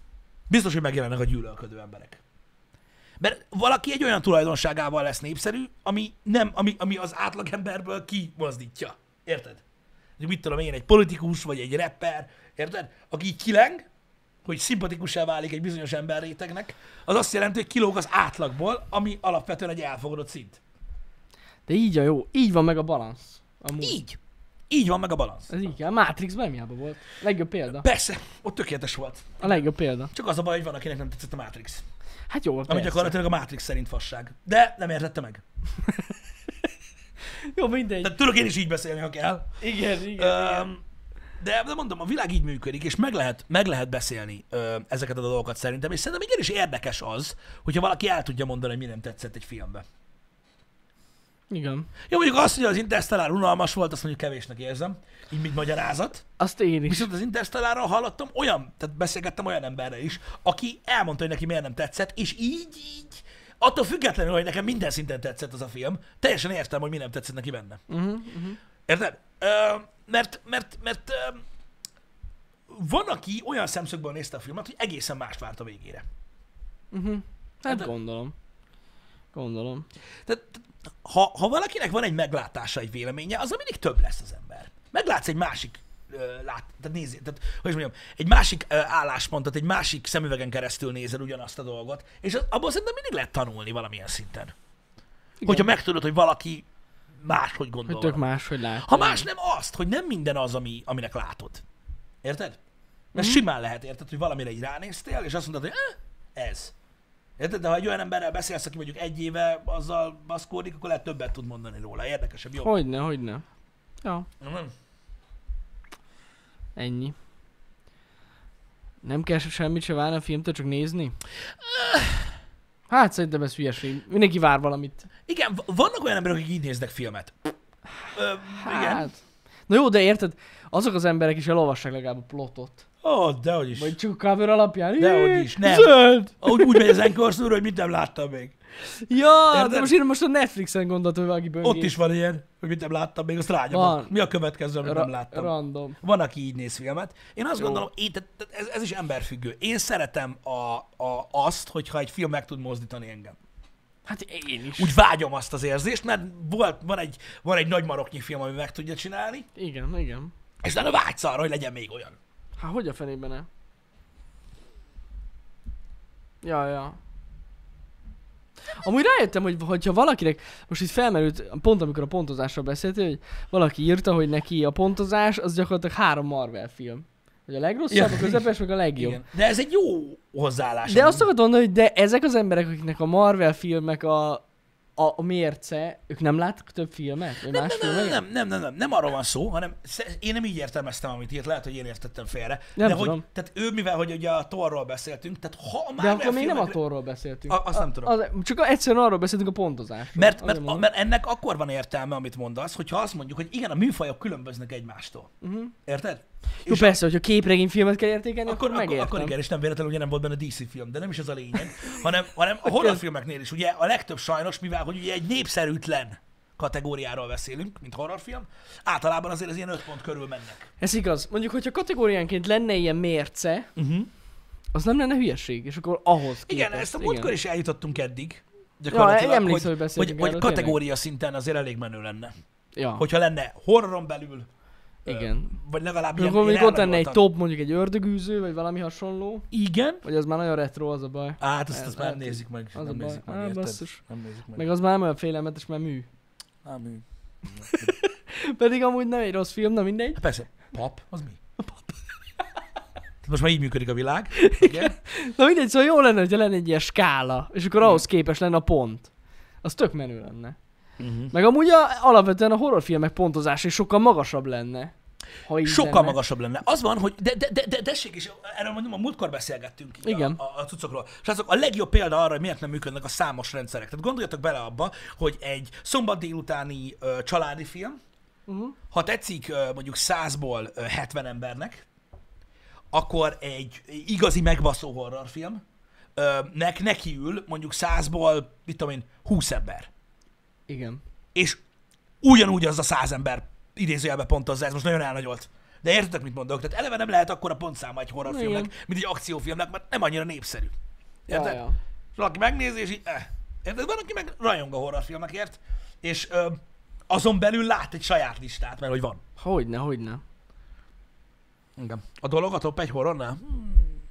Speaker 1: biztos, hogy megjelennek a gyűlölködő emberek. Mert valaki egy olyan tulajdonságával lesz népszerű, ami, nem, ami, ami az átlagemberből kimozdítja. Érted? hogy mit tudom én, egy politikus, vagy egy rapper, érted? Aki így kileng, hogy szimpatikusá válik egy bizonyos emberrétegnek, az azt jelenti, hogy kilóg az átlagból, ami alapvetően egy elfogadott szint.
Speaker 2: De így a jó, így van meg a balansz. Amúgy.
Speaker 1: Így. Így van meg a balansz.
Speaker 2: Ez így kell. Matrix nem hiába volt. Legjobb példa.
Speaker 1: Persze, ott tökéletes volt.
Speaker 2: A legjobb példa.
Speaker 1: Csak az a baj, hogy van, akinek nem tetszett a Matrix.
Speaker 2: Hát jó,
Speaker 1: Ami
Speaker 2: persze.
Speaker 1: gyakorlatilag a Matrix szerint fasság. De nem értette meg.
Speaker 2: Jó, mindegy.
Speaker 1: Tehát tudok én is így beszélni, ha kell.
Speaker 2: Igen, igen.
Speaker 1: Öm, de, de mondom, a világ így működik, és meg lehet, meg lehet beszélni ö, ezeket a dolgokat szerintem, és szerintem igenis érdekes az, hogyha valaki el tudja mondani, hogy mi nem tetszett egy filmbe.
Speaker 2: Igen.
Speaker 1: Jó, mondjuk azt, hogy az Interstellar unalmas volt, azt mondjuk kevésnek érzem, így mint magyarázat.
Speaker 2: Azt én is.
Speaker 1: Viszont az Interstellárral hallottam olyan, tehát beszélgettem olyan emberre is, aki elmondta, hogy neki miért nem tetszett, és így, így, attól függetlenül, hogy nekem minden szinten tetszett az a film, teljesen értem, hogy mi nem tetszett neki benne.
Speaker 2: Uh-huh, uh-huh.
Speaker 1: Érted? Ö, mert, mert, mert ö, van, aki olyan szemszögből nézte a filmet, hogy egészen mást várt a végére.
Speaker 2: Uh-huh. Hát
Speaker 1: Hát-
Speaker 2: gondolom. Gondolom.
Speaker 1: Tehát ha, ha valakinek van egy meglátása, egy véleménye, az mindig több lesz az ember. Meglátsz egy másik ö, lát, tehát nézi, tehát, hogy is mondjam, egy másik ö, álláspontot, egy másik szemüvegen keresztül nézel ugyanazt a dolgot, és az, abból szerintem mindig lehet tanulni valamilyen szinten. Igen. Hogyha megtudod, hogy valaki máshogy gondol.
Speaker 2: Hogy tök
Speaker 1: valamit.
Speaker 2: máshogy lát.
Speaker 1: Ha más nem azt, hogy nem minden az, ami, aminek látod. Érted? Mert
Speaker 2: Mhm.
Speaker 1: mm-hmm. simán lehet, érted, hogy valamire így ránéztél, és azt mondtad, hogy eh, ez. Érted? De ha egy olyan emberrel beszélsz, aki mondjuk egy éve azzal baszkódik, akkor lehet többet tud mondani róla. Érdekesebb, Mhm. jobb.
Speaker 2: Hogyne, hogyne. Ja,
Speaker 1: Nem?
Speaker 2: ennyi. Nem kell se- semmit se várni a filmtől, csak nézni? Hát szerintem ez hülyeség. Mindenki vár valamit.
Speaker 1: Igen, v- vannak olyan emberek, akik így néznek filmet. Ö, igen.
Speaker 2: Hát. Na jó, de érted? Azok az emberek is elolvassák legalább a plotot.
Speaker 1: Ó, oh, dehogy is.
Speaker 2: Vagy csak a cover alapján.
Speaker 1: Dehogy
Speaker 2: Jé,
Speaker 1: is, nem.
Speaker 2: Zöld!
Speaker 1: Úgy, úgy megy az Enkor úr, hogy mit nem láttam még.
Speaker 2: Ja, de
Speaker 1: Érted?
Speaker 2: most én most a Netflixen gondoltam, hogy valaki böngész.
Speaker 1: Ott is van ilyen, hogy mit nem láttam még, azt rányomok.
Speaker 2: Van.
Speaker 1: Mi a következő, amit nem
Speaker 2: Ra-
Speaker 1: láttam?
Speaker 2: Random.
Speaker 1: Van, aki így néz filmet. Én azt Jó.
Speaker 2: Jó.
Speaker 1: gondolom, én, tehát- tehát ez, ez is emberfüggő. Én szeretem a, a, azt, hogyha egy film meg tud mozdítani engem.
Speaker 2: Hát én is.
Speaker 1: Úgy vágyom azt az érzést, mert volt, van, egy, van egy nagy maroknyi film, ami meg tudja csinálni,
Speaker 2: Igen, igen.
Speaker 1: és utána vágysz arra, hogy legyen még olyan.
Speaker 2: Hát hogy a fenében ne? Ja, ja. Amúgy rájöttem, hogy hogyha valakinek, most itt felmerült, pont amikor a pontozásról beszéltél, hogy valaki írta, hogy neki a pontozás az gyakorlatilag három Marvel film. Hogy a legrosszabb,
Speaker 1: Ja.
Speaker 2: a közepes, meg a legjobb.
Speaker 1: Igen. De ez egy jó hozzáállás.
Speaker 2: De azt akarod mondani, hogy de ezek az emberek, akiknek a Marvel filmek a, a, a mérce, ők nem láttak több filmet? Vagy
Speaker 1: nem,
Speaker 2: más
Speaker 1: nem, nem,
Speaker 2: filmeket?
Speaker 1: nem, nem, nem, nem, nem arról van szó, hanem sze- én nem így értelmeztem, amit írt, lehet, hogy én értettem félre.
Speaker 2: Nem
Speaker 1: de hogy,
Speaker 2: tudom.
Speaker 1: tehát ő, mivel hogy ugye a Thorról beszéltünk, tehát ha már
Speaker 2: De akkor még nem a Thorról beszéltünk.
Speaker 1: A- azt nem tudom.
Speaker 2: Az, csak egyszerűen arról beszéltünk a pontozásról.
Speaker 1: Mert,
Speaker 2: Azért
Speaker 1: mert, a,
Speaker 2: mondom.
Speaker 1: mert ennek akkor van értelme, amit mondasz, hogyha azt mondjuk, hogy igen, a műfajok különböznek egymástól.
Speaker 2: Mhm.
Speaker 1: Uh-huh. Érted?
Speaker 2: Jó, persze, hogyha képregényfilmet kell értékelni, akkor,
Speaker 1: Akkor,
Speaker 2: akkor
Speaker 1: akkor,
Speaker 2: megértem.
Speaker 1: akkor igen, és nem véletlenül ugye nem volt benne DC film, de nem is ez a
Speaker 2: [LAUGHS]
Speaker 1: lényeg, hanem, hanem a horrorfilmeknél is. Ugye a legtöbb sajnos, mivel hogy ugye egy népszerűtlen kategóriáról beszélünk, mint horrorfilm, általában azért az ilyen 5 pont körül mennek.
Speaker 2: Ez igaz. Mondjuk, hogyha kategóriánként lenne ilyen mérce,
Speaker 1: Uh-huh.
Speaker 2: az nem lenne hülyeség, és akkor ahhoz
Speaker 1: Igen,
Speaker 2: képest,
Speaker 1: ezt a múltkor is eljutottunk eddig.
Speaker 2: Ja, emlékszem, hogy
Speaker 1: hogy,
Speaker 2: beszéltünk
Speaker 1: hogy, hogy
Speaker 2: erről, tényleg.
Speaker 1: kategória szinten azért elég menő lenne.
Speaker 2: Ja,
Speaker 1: Hogyha lenne horroron belül,
Speaker 2: igen.
Speaker 1: vagy legalább
Speaker 2: Akkor
Speaker 1: ilyen,
Speaker 2: mondjuk
Speaker 1: ilyen
Speaker 2: ott lenne egy
Speaker 1: elragoltan.
Speaker 2: top, mondjuk egy ördögűző, vagy valami hasonló,
Speaker 1: Igen,
Speaker 2: vagy az már nagyon retro, az a baj.
Speaker 1: Á, Hát azt,
Speaker 2: Ez-
Speaker 1: azt már nem
Speaker 2: hát
Speaker 1: nézik meg.
Speaker 2: az
Speaker 1: nem
Speaker 2: a baj.
Speaker 1: nézik meg,
Speaker 2: Á,
Speaker 1: érted?
Speaker 2: basszus.
Speaker 1: Nem nézik meg.
Speaker 2: Meg az már nem olyan félelmetes, mert mű. [LAUGHS]
Speaker 1: Á, mi?
Speaker 2: Pedig amúgy nem egy rossz film, na mindegy.
Speaker 1: Hát persze, pap, az
Speaker 2: [LAUGHS]
Speaker 1: mi? Tehát Most már így működik a világ. Igen.
Speaker 2: Na mindegy, szóval jó lenne, hogyha lenne egy ilyen skála, és akkor ahhoz képes lenne a pont. Az tök menő lenne.
Speaker 1: Uh-huh.
Speaker 2: Meg amúgy a, alapvetően a horrorfilmek pontozása is sokkal magasabb lenne. Ha így
Speaker 1: Sokkal
Speaker 2: lenne.
Speaker 1: magasabb lenne. Az van, hogy de, de, de, de tessék is, erről mondom, a múltkor beszélgettünk így
Speaker 2: Igen.
Speaker 1: A, a, a cuccokról. És azok a legjobb példa arra, hogy miért nem működnek a számos rendszerek. Tehát gondoljatok bele abba, hogy egy szombat délutáni ö, családi film,
Speaker 2: Uh-huh.
Speaker 1: ha tetszik ö, mondjuk 100-ból ö, 70 embernek, akkor egy igazi megbaszó horrorfilm, ö, nek neki ül mondjuk 100-ból, mit tudom én, 20 ember.
Speaker 2: Igen.
Speaker 1: És ugyanúgy az a 100 ember idézőjelbe pontozza, ez most nagyon elnagyolt. De értetek, mit mondok? Tehát eleve nem lehet akkora pontszáma egy horrorfilmnek,
Speaker 2: Igen.
Speaker 1: mint egy akciófilmnek, mert nem annyira népszerű.
Speaker 2: Ja,
Speaker 1: Érted?
Speaker 2: ja.
Speaker 1: És valaki megnézi, és így, eh. Érted? Van, aki meg rajong a horrorfilmekért, és ö, azon belül lát egy saját listát, mert hogy van.
Speaker 2: Hogyne, hogyne.
Speaker 1: Igen. A dolog a top egy horrornál? Hmm.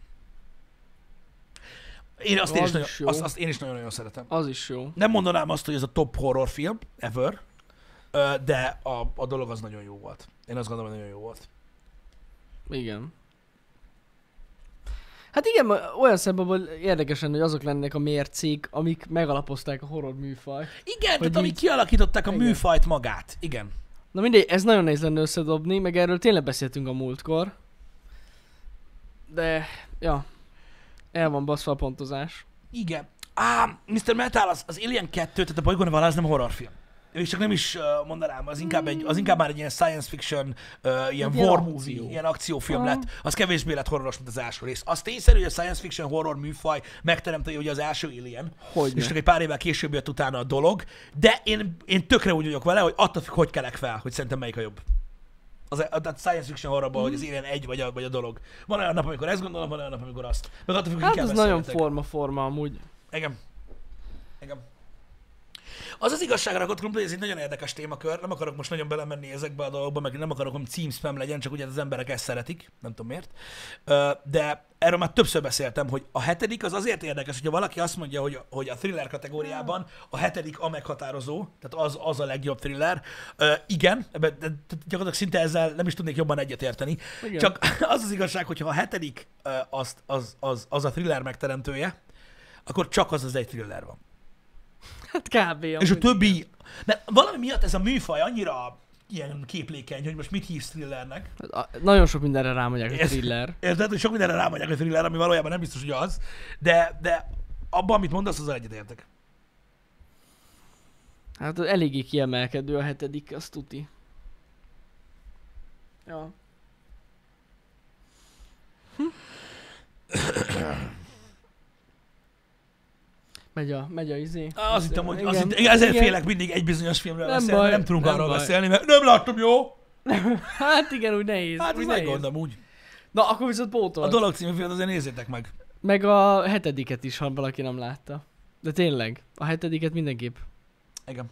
Speaker 1: Én azt, én is
Speaker 2: Az is
Speaker 1: nagyon,
Speaker 2: jó.
Speaker 1: azt, azt én is nagyon-nagyon szeretem.
Speaker 2: Az is jó.
Speaker 1: Nem mondanám azt, hogy ez a top horrorfilm ever, Ö, De a, a dolog az nagyon jó volt. Én azt gondolom, hogy nagyon jó volt.
Speaker 2: Igen. Hát igen, ma- olyan szempontból érdekesen, hogy azok lennek a mércék, amik megalapozták a horror műfajt.
Speaker 1: Igen,
Speaker 2: Hogy
Speaker 1: tehát amíg
Speaker 2: így-
Speaker 1: kialakították a
Speaker 2: igen.
Speaker 1: műfajt magát. Igen.
Speaker 2: Na mindegy, ez nagyon nehéz lenne összedobni, meg erről tényleg beszéltünk a múltkor. De, ja. El van baszva a pontozás.
Speaker 1: Igen. Á, Mr. Metal, az, az Alien 2, tehát a bolygón van, az nem horrorfilm. És csak nem is ö, mondanám, az inkább, egy, az inkább már egy ilyen science fiction, ö, ilyen
Speaker 2: Egy ilyen
Speaker 1: war
Speaker 2: akció.
Speaker 1: movie, ilyen akciófilm
Speaker 2: Ah.
Speaker 1: lett. Az kevésbé lett horroros, mint az első rész. Az tényszerű, hogy a science fiction horror műfaj megteremtője ugye az első Alien,
Speaker 2: Hogy
Speaker 1: és csak egy pár évvel később jött utána a dolog, de én, én tökre úgy vagyok vele, hogy attól függ, hogy kelek fel, hogy szerintem melyik a jobb. Az, a, a science fiction horrorban,
Speaker 2: Mhm.
Speaker 1: hogy az Alien egy vagy a, vagy a dolog. Van olyan nap, amikor ezt gondolom, van olyan nap, amikor azt. Meg attól függ, hogy
Speaker 2: Hát
Speaker 1: kell
Speaker 2: ez nagyon
Speaker 1: beszélgetek.
Speaker 2: forma-forma amúgy.
Speaker 1: Igen. Igen. Az az igazságra rakott krumpli, ez egy nagyon érdekes témakör, nem akarok most nagyon belemenni ezekbe a dolgokba, meg nem akarok, hogy címspam legyen, csak ugye az emberek ezt szeretik, nem tudom miért. Ö, De erről már többször beszéltem, hogy a hetedik az azért érdekes, hogyha valaki azt mondja, hogy, hogy a thriller kategóriában a hetedik a meghatározó, tehát az, az a legjobb thriller. Ö, Igen, ebben de- de gyakorlatilag szinte ezzel nem is tudnék jobban egyetérteni.
Speaker 2: Igen.
Speaker 1: Csak [LAUGHS] az az igazság, hogyha a hetedik ö, azt, az, az, az a thriller megteremtője, akkor csak az az egy thriller van.
Speaker 2: Hát kb.
Speaker 1: És a
Speaker 2: amúgy.
Speaker 1: többi, mert valami miatt ez a műfaj annyira ilyen képlékeny, hogy most mit hívsz thrillernek.
Speaker 2: Hát a- Nagyon sok mindenre rámondják, hogy
Speaker 1: Ez-
Speaker 2: thriller.
Speaker 1: Érted? Hogy sok mindenre rámondják, hogy thriller, ami valójában nem biztos, hogy az, de, de abban, amit mondasz, azzal egyetértek.
Speaker 2: Hát eléggé kiemelkedő a hetedik, azt tuti. Ja. Hm. megy a, megy a izé.
Speaker 1: Á, Azt hittem, hogy
Speaker 2: igen,
Speaker 1: az hittem, igen, ezért
Speaker 2: igen.
Speaker 1: félek mindig egy bizonyos filmről
Speaker 2: Nem
Speaker 1: beszélni, mert
Speaker 2: baj,
Speaker 1: nem tudunk
Speaker 2: nem
Speaker 1: arról
Speaker 2: baj.
Speaker 1: beszélni, mert nem láttam, jó?
Speaker 2: Hát igen, úgy nehéz.
Speaker 1: Hát
Speaker 2: úgy
Speaker 1: úgy
Speaker 2: nehéz.
Speaker 1: meggondolom úgy.
Speaker 2: Na, akkor viszont
Speaker 1: A
Speaker 2: pótol.
Speaker 1: dolog című filmet azért nézzétek meg.
Speaker 2: Meg a hetediket is, ha valaki nem látta. De tényleg, a hetediket mindenképp.
Speaker 1: Igen.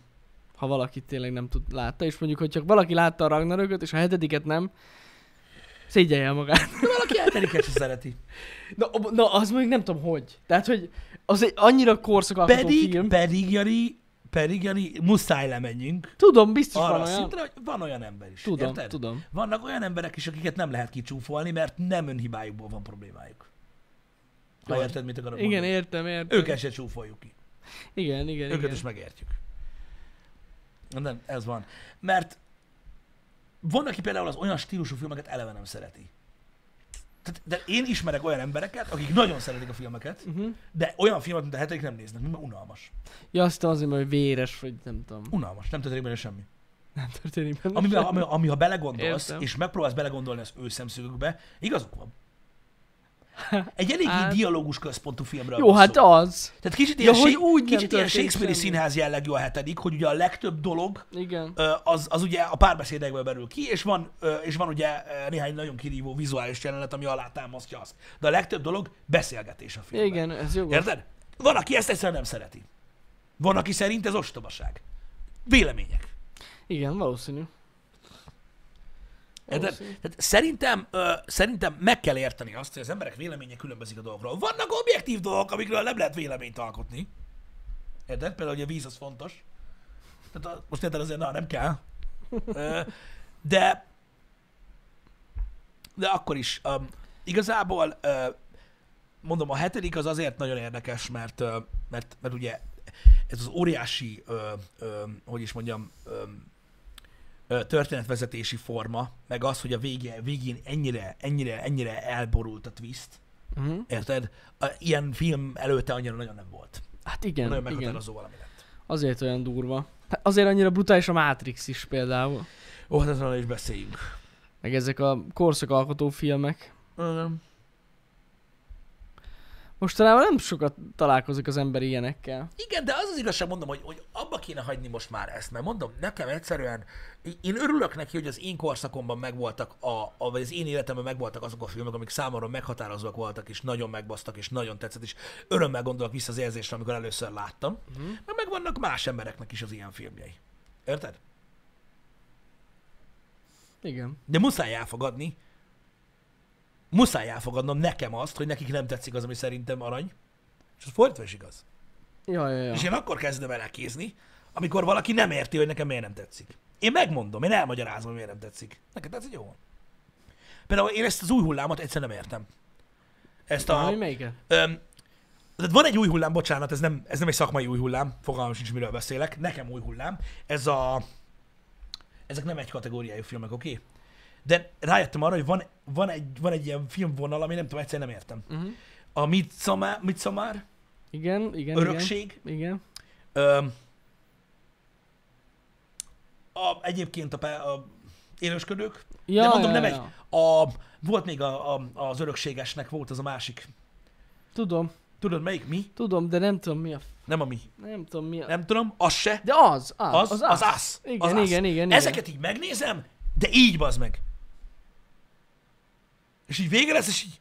Speaker 2: ha valaki tényleg nem tud, látta, és mondjuk, hogy csak valaki látta a Ragnarököt, és a hetediket nem, szégyelje el magát. [LAUGHS]
Speaker 1: Valaki elteriket se szereti.
Speaker 2: Na, ob- na, az mondjuk nem tudom, hogy. Tehát, hogy az egy annyira korszakalkotó
Speaker 1: Pedig,
Speaker 2: film.
Speaker 1: pedig Jani, pedig Jani, muszáj lemenjünk.
Speaker 2: Tudom, biztos
Speaker 1: Arra
Speaker 2: van
Speaker 1: a
Speaker 2: olyan.
Speaker 1: szintre, hogy van olyan ember is.
Speaker 2: Tudom,
Speaker 1: érted?
Speaker 2: tudom.
Speaker 1: Vannak olyan emberek is, akiket nem lehet kicsúfolni, mert nem önhibájukból van problémájuk. Ha
Speaker 2: Jó.
Speaker 1: érted, mit akarok
Speaker 2: Igen,
Speaker 1: mondani?
Speaker 2: értem, értem.
Speaker 1: Őket se csúfoljuk ki.
Speaker 2: Igen, igen,
Speaker 1: Őket
Speaker 2: igen.
Speaker 1: is megértjük. Nem, ez van. Mert van, aki például az olyan stílusú filmeket eleve nem szereti. Tehát, de én ismerek olyan embereket, akik nagyon szeretik a filmeket,
Speaker 2: Uh-huh.
Speaker 1: de olyan filmet, mint a hetedik nem néznek, mert unalmas.
Speaker 2: Ja, azt hittem azért, mert hogy véres, vagy nem tudom.
Speaker 1: Unalmas, nem történik benne semmi.
Speaker 2: Nem történik benne.
Speaker 1: Ami,
Speaker 2: semmi.
Speaker 1: ami, ami ha belegondolsz,
Speaker 2: Értem.
Speaker 1: Értem. és megpróbálsz belegondolni az ő szemszögükbe, igazuk van. Egy eléggé
Speaker 2: Hát-
Speaker 1: hát... dialógus központú filmről
Speaker 2: Jó,
Speaker 1: van szó.
Speaker 2: hát az.
Speaker 1: Tehát kicsit ilyen,
Speaker 2: Ja, hogy
Speaker 1: ja,
Speaker 2: úgy
Speaker 1: úgy
Speaker 2: nem
Speaker 1: kicsit ilyen
Speaker 2: történt
Speaker 1: Shakespeare-i
Speaker 2: semmi.
Speaker 1: színház jellegű a hetedik, hogy ugye a legtöbb dolog
Speaker 2: Igen.
Speaker 1: ö, az, az ugye a párbeszédekből berül ki, és van, ö, és van ugye ö, néhány nagyon kirívó vizuális jelenet, ami alátámasztja azt. De a legtöbb dolog beszélgetés a filmben.
Speaker 2: Igen, ez jó.
Speaker 1: Érted? Van, aki ezt egyszerűen nem szereti. Van, aki szerint ez ostobaság. Vélemények.
Speaker 2: Igen, valószínű.
Speaker 1: Érted?
Speaker 2: Valószínű.
Speaker 1: Tehát szerintem, ö, szerintem meg kell érteni azt, hogy az emberek véleménye különbözik a dolgokról. Vannak objektív dolgok, amikről nem lehet véleményt alkotni. Érted? Például, hogy a víz az fontos. Tehát a, most érted azért, na, nem kell. Ö, de de akkor is. Um, igazából ö, mondom, a hetedik az azért nagyon érdekes, mert, ö, mert, mert ugye ez az óriási, ö, ö, hogy is mondjam, ö, ö, történetvezetési forma, meg az, hogy a vége, végén ennyire, ennyire, ennyire elborult a twist, Mhm.
Speaker 2: Uh-huh.
Speaker 1: érted? A, ilyen film előtte annyira nagyon nem volt.
Speaker 2: Hát
Speaker 1: nagyon
Speaker 2: igen, igen.
Speaker 1: meghatározó valami lett.
Speaker 2: Azért olyan durva. Hát Azért annyira brutális a Matrix is például.
Speaker 1: Ó, hát ezzel is beszéljünk.
Speaker 2: Meg ezek a korszakalkotó filmek. Mostanában nem sokat találkozik az ember ilyenekkel.
Speaker 1: Igen, de az az igazság, mondom, hogy, hogy abba kéne hagyni most már ezt, mert mondom, nekem egyszerűen, én örülök neki, hogy az én korszakomban megvoltak, a, a, vagy az én életemben megvoltak azok a filmek, amik számomra meghatározóak voltak, és nagyon megbasztak, és nagyon tetszett, és örömmel gondolok vissza az érzésre, amikor először láttam. Uh-huh. Mert megvannak más embereknek is az ilyen filmjei. Érted?
Speaker 2: Igen.
Speaker 1: De muszáj elfogadni, muszáj elfogadnom nekem azt, hogy nekik nem tetszik az, ami szerintem arany, és az fordítva is igaz.
Speaker 2: Ja, ja, ja.
Speaker 1: És én akkor kezdem el elkézni, amikor valaki nem érti, hogy nekem miért nem tetszik. Én megmondom, én elmagyarázom, hogy miért nem tetszik. Neked tetszik, jó van. Például én ezt az új hullámot egyszer nem értem. Ezt a...
Speaker 2: Tudom, hogy melyiket?
Speaker 1: Öm, tehát van egy új hullám, bocsánat, ez nem, ez nem egy szakmai új hullám, fogalmam sincs, miről beszélek, nekem új hullám. Ez a... Ezek nem egy kategóriájú filmek, oké? Okay? De rájöttem arra, hogy van, van, egy, van egy ilyen filmvonal, ami nem tudom, egyszerűen nem értem.
Speaker 2: Uh-huh.
Speaker 1: A Midsommar, Midsommar
Speaker 2: Igen, igen,
Speaker 1: örökség,
Speaker 2: igen. Igen.
Speaker 1: öm, a, egyébként a, pe- a élősködők,
Speaker 2: Ja,
Speaker 1: de mondom,
Speaker 2: ja,
Speaker 1: nem
Speaker 2: ja.
Speaker 1: egy. A, volt még a, a, az örökségesnek, volt az a másik.
Speaker 2: Tudom,
Speaker 1: Tudod melyik? Mi?
Speaker 2: tudom, de nem tudom mi a... f-
Speaker 1: Nem a mi.
Speaker 2: Nem tudom mi a...
Speaker 1: Nem tudom, az se.
Speaker 2: De az, az,
Speaker 1: Az, az, az, az.
Speaker 2: Igen,
Speaker 1: az.
Speaker 2: igen, igen,
Speaker 1: Ezeket így megnézem, de így bazd meg. És így vége lesz, és így,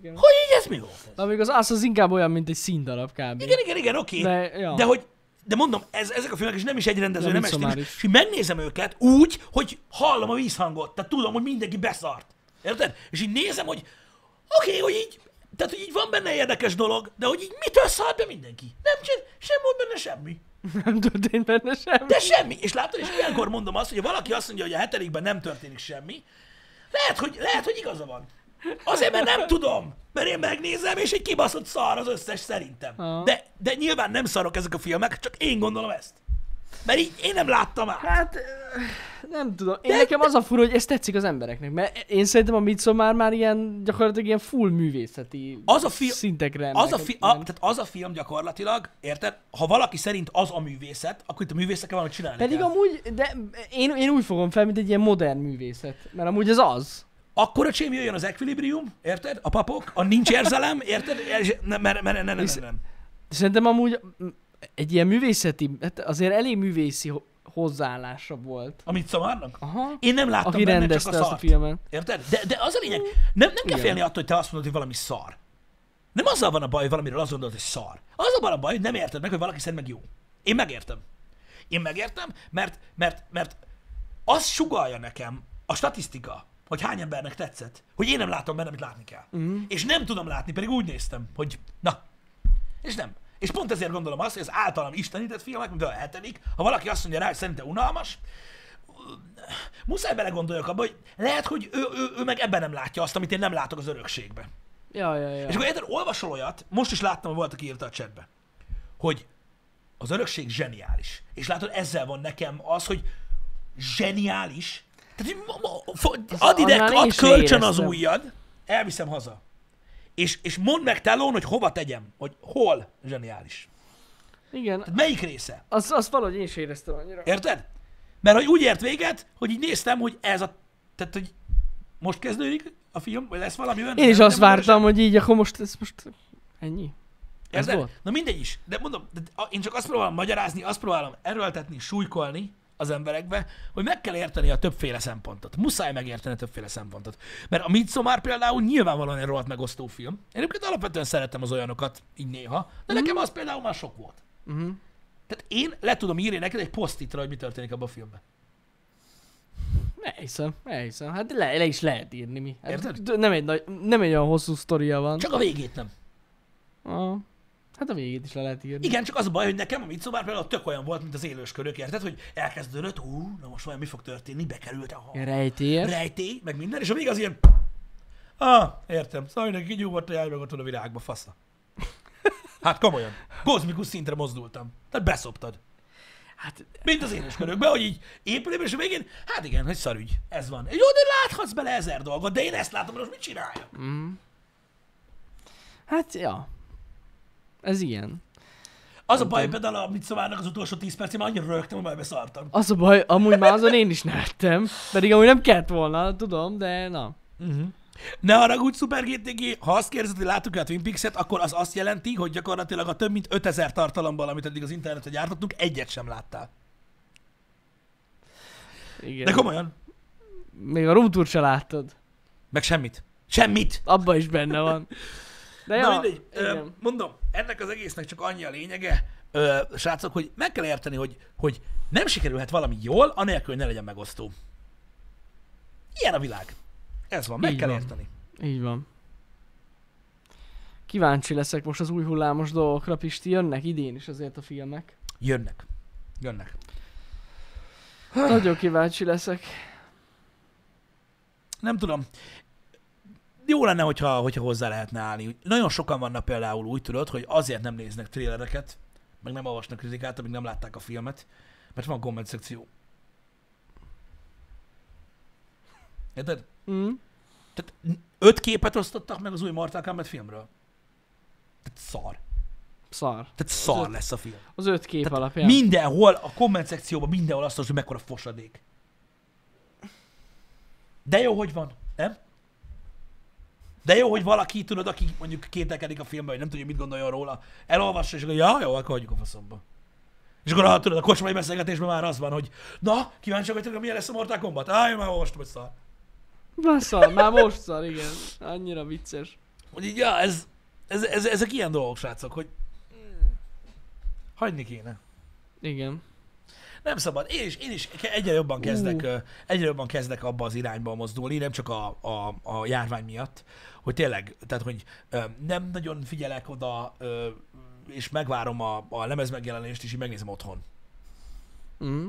Speaker 2: Igen.
Speaker 1: hogy így ez mi volt? ez?
Speaker 2: Na még az az az inkább olyan, mint egy színdarab kb.
Speaker 1: Igen, igen, igen, oké. Okay.
Speaker 2: De, ja.
Speaker 1: De hogy, de mondom, ez, ezek a filmek is nem is egy rendező,
Speaker 2: De
Speaker 1: nem egy
Speaker 2: Midsommar
Speaker 1: stílus,
Speaker 2: is.
Speaker 1: és így megnézem őket úgy, hogy hallom a vízhangot, tehát tudom, hogy mindenki beszart. Érted? És így nézem, hogy oké, okay, hogy így, tehát hogy így van benne érdekes dolog, de hogy így mitől szállt be mindenki? Nem csin, sem volt benne semmi.
Speaker 2: Nem történt benne semmi.
Speaker 1: De semmi. És látod, és ilyenkor mondom azt, hogy ha valaki azt mondja, hogy a hetedikben nem történik semmi, lehet, hogy, lehet, hogy igaza van. Azért, mert nem tudom. Mert én megnézem, és egy kibaszott szar az összes szerintem.
Speaker 2: Aha.
Speaker 1: De, de nyilván nem szarok ezek a filmek, csak én gondolom ezt. Mert így én nem láttam már.
Speaker 2: Hát, ö, nem tudom. Én nekem az a fura, hogy ez tetszik az embereknek, mert én szerintem a Midsommar már ilyen, gyakorlatilag ilyen full művészeti
Speaker 1: Az a film,
Speaker 2: szintekre
Speaker 1: az a,
Speaker 2: emelkedett,
Speaker 1: fi, a,
Speaker 2: nem?
Speaker 1: tehát az a film gyakorlatilag, érted? Ha valaki szerint az a művészet, akkor itt a művészekkel valamit csinálni
Speaker 2: Pedig
Speaker 1: kell.
Speaker 2: amúgy, de én, én úgy fogom fel, mint egy ilyen modern művészet, mert amúgy az az.
Speaker 1: Akkor a csém jöjjön az Equilibrium, érted? A papok, a nincs érzelem, érted? És- Nem, mert, mert, nem, nem, nem, nem.
Speaker 2: Szerintem amúgy mm, egy ilyen művészeti, hát azért elég művészi ho- hozzáállása volt.
Speaker 1: Amit szavarnak?
Speaker 2: Aha.
Speaker 1: Én nem láttam
Speaker 2: Aki
Speaker 1: benne, csak
Speaker 2: rendezte
Speaker 1: a
Speaker 2: azt
Speaker 1: szart.
Speaker 2: a filmet.
Speaker 1: Érted? De, de az a lényeg, nem, nem kell
Speaker 2: Igen.
Speaker 1: félni attól, hogy te azt mondod, hogy valami szar. Nem azzal van a baj, hogy valamiről azt gondolod, hogy szar. Az a baj a baj, hogy nem érted meg, hogy valaki szerint meg jó. Én megértem. Én megértem, mert, mert, mert az sugalja nekem a statisztika, hogy hány embernek tetszett, hogy én nem látom benne, amit látni kell.
Speaker 2: Mhm.
Speaker 1: Mm. És nem tudom látni, pedig úgy néztem, hogy na, és nem. És pont ezért gondolom azt, hogy az általam istenített filmek, mint a hetedik, ha valaki azt mondja rá, hogy szerinte unalmas, muszáj belegondoljak abba, hogy lehet, hogy ő, ő, ő meg ebben nem látja azt, amit én nem látok az örökségbe.
Speaker 2: Ja, ja, ja.
Speaker 1: És akkor érted, olvasol olyat, most is láttam, hogy volt, aki írta a chatbe, hogy az örökség zseniális. És látod, ezzel van nekem az, hogy zseniális. Tehát, hogy ma- ma- fo- add ide,
Speaker 2: annál én
Speaker 1: add
Speaker 2: is ne
Speaker 1: kölcsön az
Speaker 2: éreztem.
Speaker 1: ujjad, elviszem haza. És, és mondd meg telón, hogy hova tegyem, hogy hol zseniális.
Speaker 2: Igen,
Speaker 1: Melyik része?
Speaker 2: az, az valahogy én is éreztem annyira.
Speaker 1: Érted? Mert hogy úgy ért véget, hogy így néztem, hogy ez a... Tehát, hogy most kezdődik a film, vagy lesz valami olyan...
Speaker 2: Én is
Speaker 1: nem
Speaker 2: azt
Speaker 1: mondom,
Speaker 2: vártam, hogy így, akkor most ez most ennyi. Ez
Speaker 1: Érted?
Speaker 2: volt?
Speaker 1: Na mindegy is. De mondom, de a- én csak azt próbálom magyarázni, azt próbálom erőltetni, súlykolni az emberekbe, hogy meg kell érteni a többféle szempontot. Muszáj megérteni a többféle szempontot. Mert a Midsommar például nyilvánvalóan egy rohadt megosztó film. Én egyébként alapvetően szeretem az olyanokat, így néha, de
Speaker 2: Mhm.
Speaker 1: nekem az például már sok volt.
Speaker 2: Uh-huh.
Speaker 1: Tehát én le tudom írni neked egy posztitra, hogy mi történik abban a filmben.
Speaker 2: Elhiszem, elhiszem. Hát le, le is lehet írni mi. Hát
Speaker 1: Érted?
Speaker 2: d- Nem egy, nagy, nem egy olyan hosszú sztoria van.
Speaker 1: Csak a végét nem.
Speaker 2: Ah, hát a végét is le lehet írni.
Speaker 1: Igen, csak az a baj, hogy nekem a Midsommar például tök olyan volt, mint az élőskörök, érted? Hogy elkezdődött, ú, na most vajon mi fog történni, bekerült a
Speaker 2: Ilyen Rejtélyes.
Speaker 1: rejtély, meg minden, és a vége az ilyen... Ah, értem. Szóval mindenki kigyúgott a meg ott a virágba, fasza. Hát komolyan. Kozmikus szintre mozdultam. Tehát beszoptad.
Speaker 2: Hát,
Speaker 1: Mint az éneskörökbe, hogy így épülőben, és a végén, hát igen, hogy szarügy. Ez van. Jó, de láthatsz bele ezer dolgot, de én ezt látom, most mit csináljak?
Speaker 2: mm. hát, ja. Ez ilyen.
Speaker 1: Az a baj, például, amit szavárnak az utolsó 10 percében, annyira rögtem, hogy már beszartam.
Speaker 2: Az a baj, amúgy már azon én is nevettem. Pedig amúgy nem kellett volna, tudom, de na.
Speaker 1: Ne haragudj, Super GTG, ha azt kérdezed, hogy láttuk a Twin Peaks-et, akkor az azt jelenti, hogy gyakorlatilag a több mint 5000 tartalomból, amit eddig az interneten gyártottunk, egyet sem láttál.
Speaker 2: Igen.
Speaker 1: De komolyan,
Speaker 2: Még a rumtúr se láttad.
Speaker 1: meg semmit. Semmit!
Speaker 2: Abba is benne van.
Speaker 1: [LAUGHS]
Speaker 2: De
Speaker 1: Na
Speaker 2: ja,
Speaker 1: mindegy, ö,
Speaker 2: igen.
Speaker 1: mondom, ennek az egésznek csak annyi a lényege, ö, srácok, hogy meg kell érteni, hogy, hogy nem sikerülhet valami jól, anélkül, hogy ne legyen megosztó. Ilyen a világ. Ez van, meg
Speaker 2: Így
Speaker 1: kell
Speaker 2: van.
Speaker 1: érteni.
Speaker 2: Így van. Kíváncsi leszek most az új hullámos dolgokra, Pisti, jönnek idén is azért a filmek.
Speaker 1: Jönnek. Jönnek.
Speaker 2: Nagyon kíváncsi leszek.
Speaker 1: Nem tudom. Jó lenne, hogyha, hogyha hozzá lehetne állni. Nagyon sokan vannak például úgy tudod, hogy azért nem néznek trélereket, meg nem olvasnak kritikát, amíg nem látták a filmet, mert van komment szekció. Érted?
Speaker 2: Mm.
Speaker 1: Tehát öt képet osztottak meg az új Mortal Kombat filmről. Tehát szar.
Speaker 2: Szar.
Speaker 1: Tehát szar lesz a film.
Speaker 2: Az öt kép
Speaker 1: Tehát
Speaker 2: alapján.
Speaker 1: Mindenhol, a komment szekcióban mindenhol azt mondja, hogy mekkora fosadék. De jó, hogy van, nem? De jó, hogy valaki, tudod, aki mondjuk kételkedik a filmben, vagy nem tudja, mit gondoljon róla, elolvassa, és akkor, ja, jó, akkor hagyjuk a faszomba. És akkor, ha tudod, a kocsmai beszélgetésben már az van, hogy na, kíváncsiak vagytok, hogy milyen lesz a Mortal Kombat? Á, én már olvastam, hogy szar.
Speaker 2: Már szar, már most szar, igen. Annyira vicces.
Speaker 1: Hogy így, ja, ez, ez, ez, ezek ilyen dolgok, srácok, hogy mm, hagyni kéne.
Speaker 2: Igen.
Speaker 1: Nem szabad. Én is, én is ke- egyre jobban kezdek,
Speaker 2: Ú.
Speaker 1: uh. egyre jobban kezdek abba az irányba mozdulni, nem csak a, a, a járvány miatt, hogy tényleg, tehát hogy ö, nem nagyon figyelek oda, ö, és megvárom a, a lemez megjelenést, és így megnézem otthon.
Speaker 2: Mm.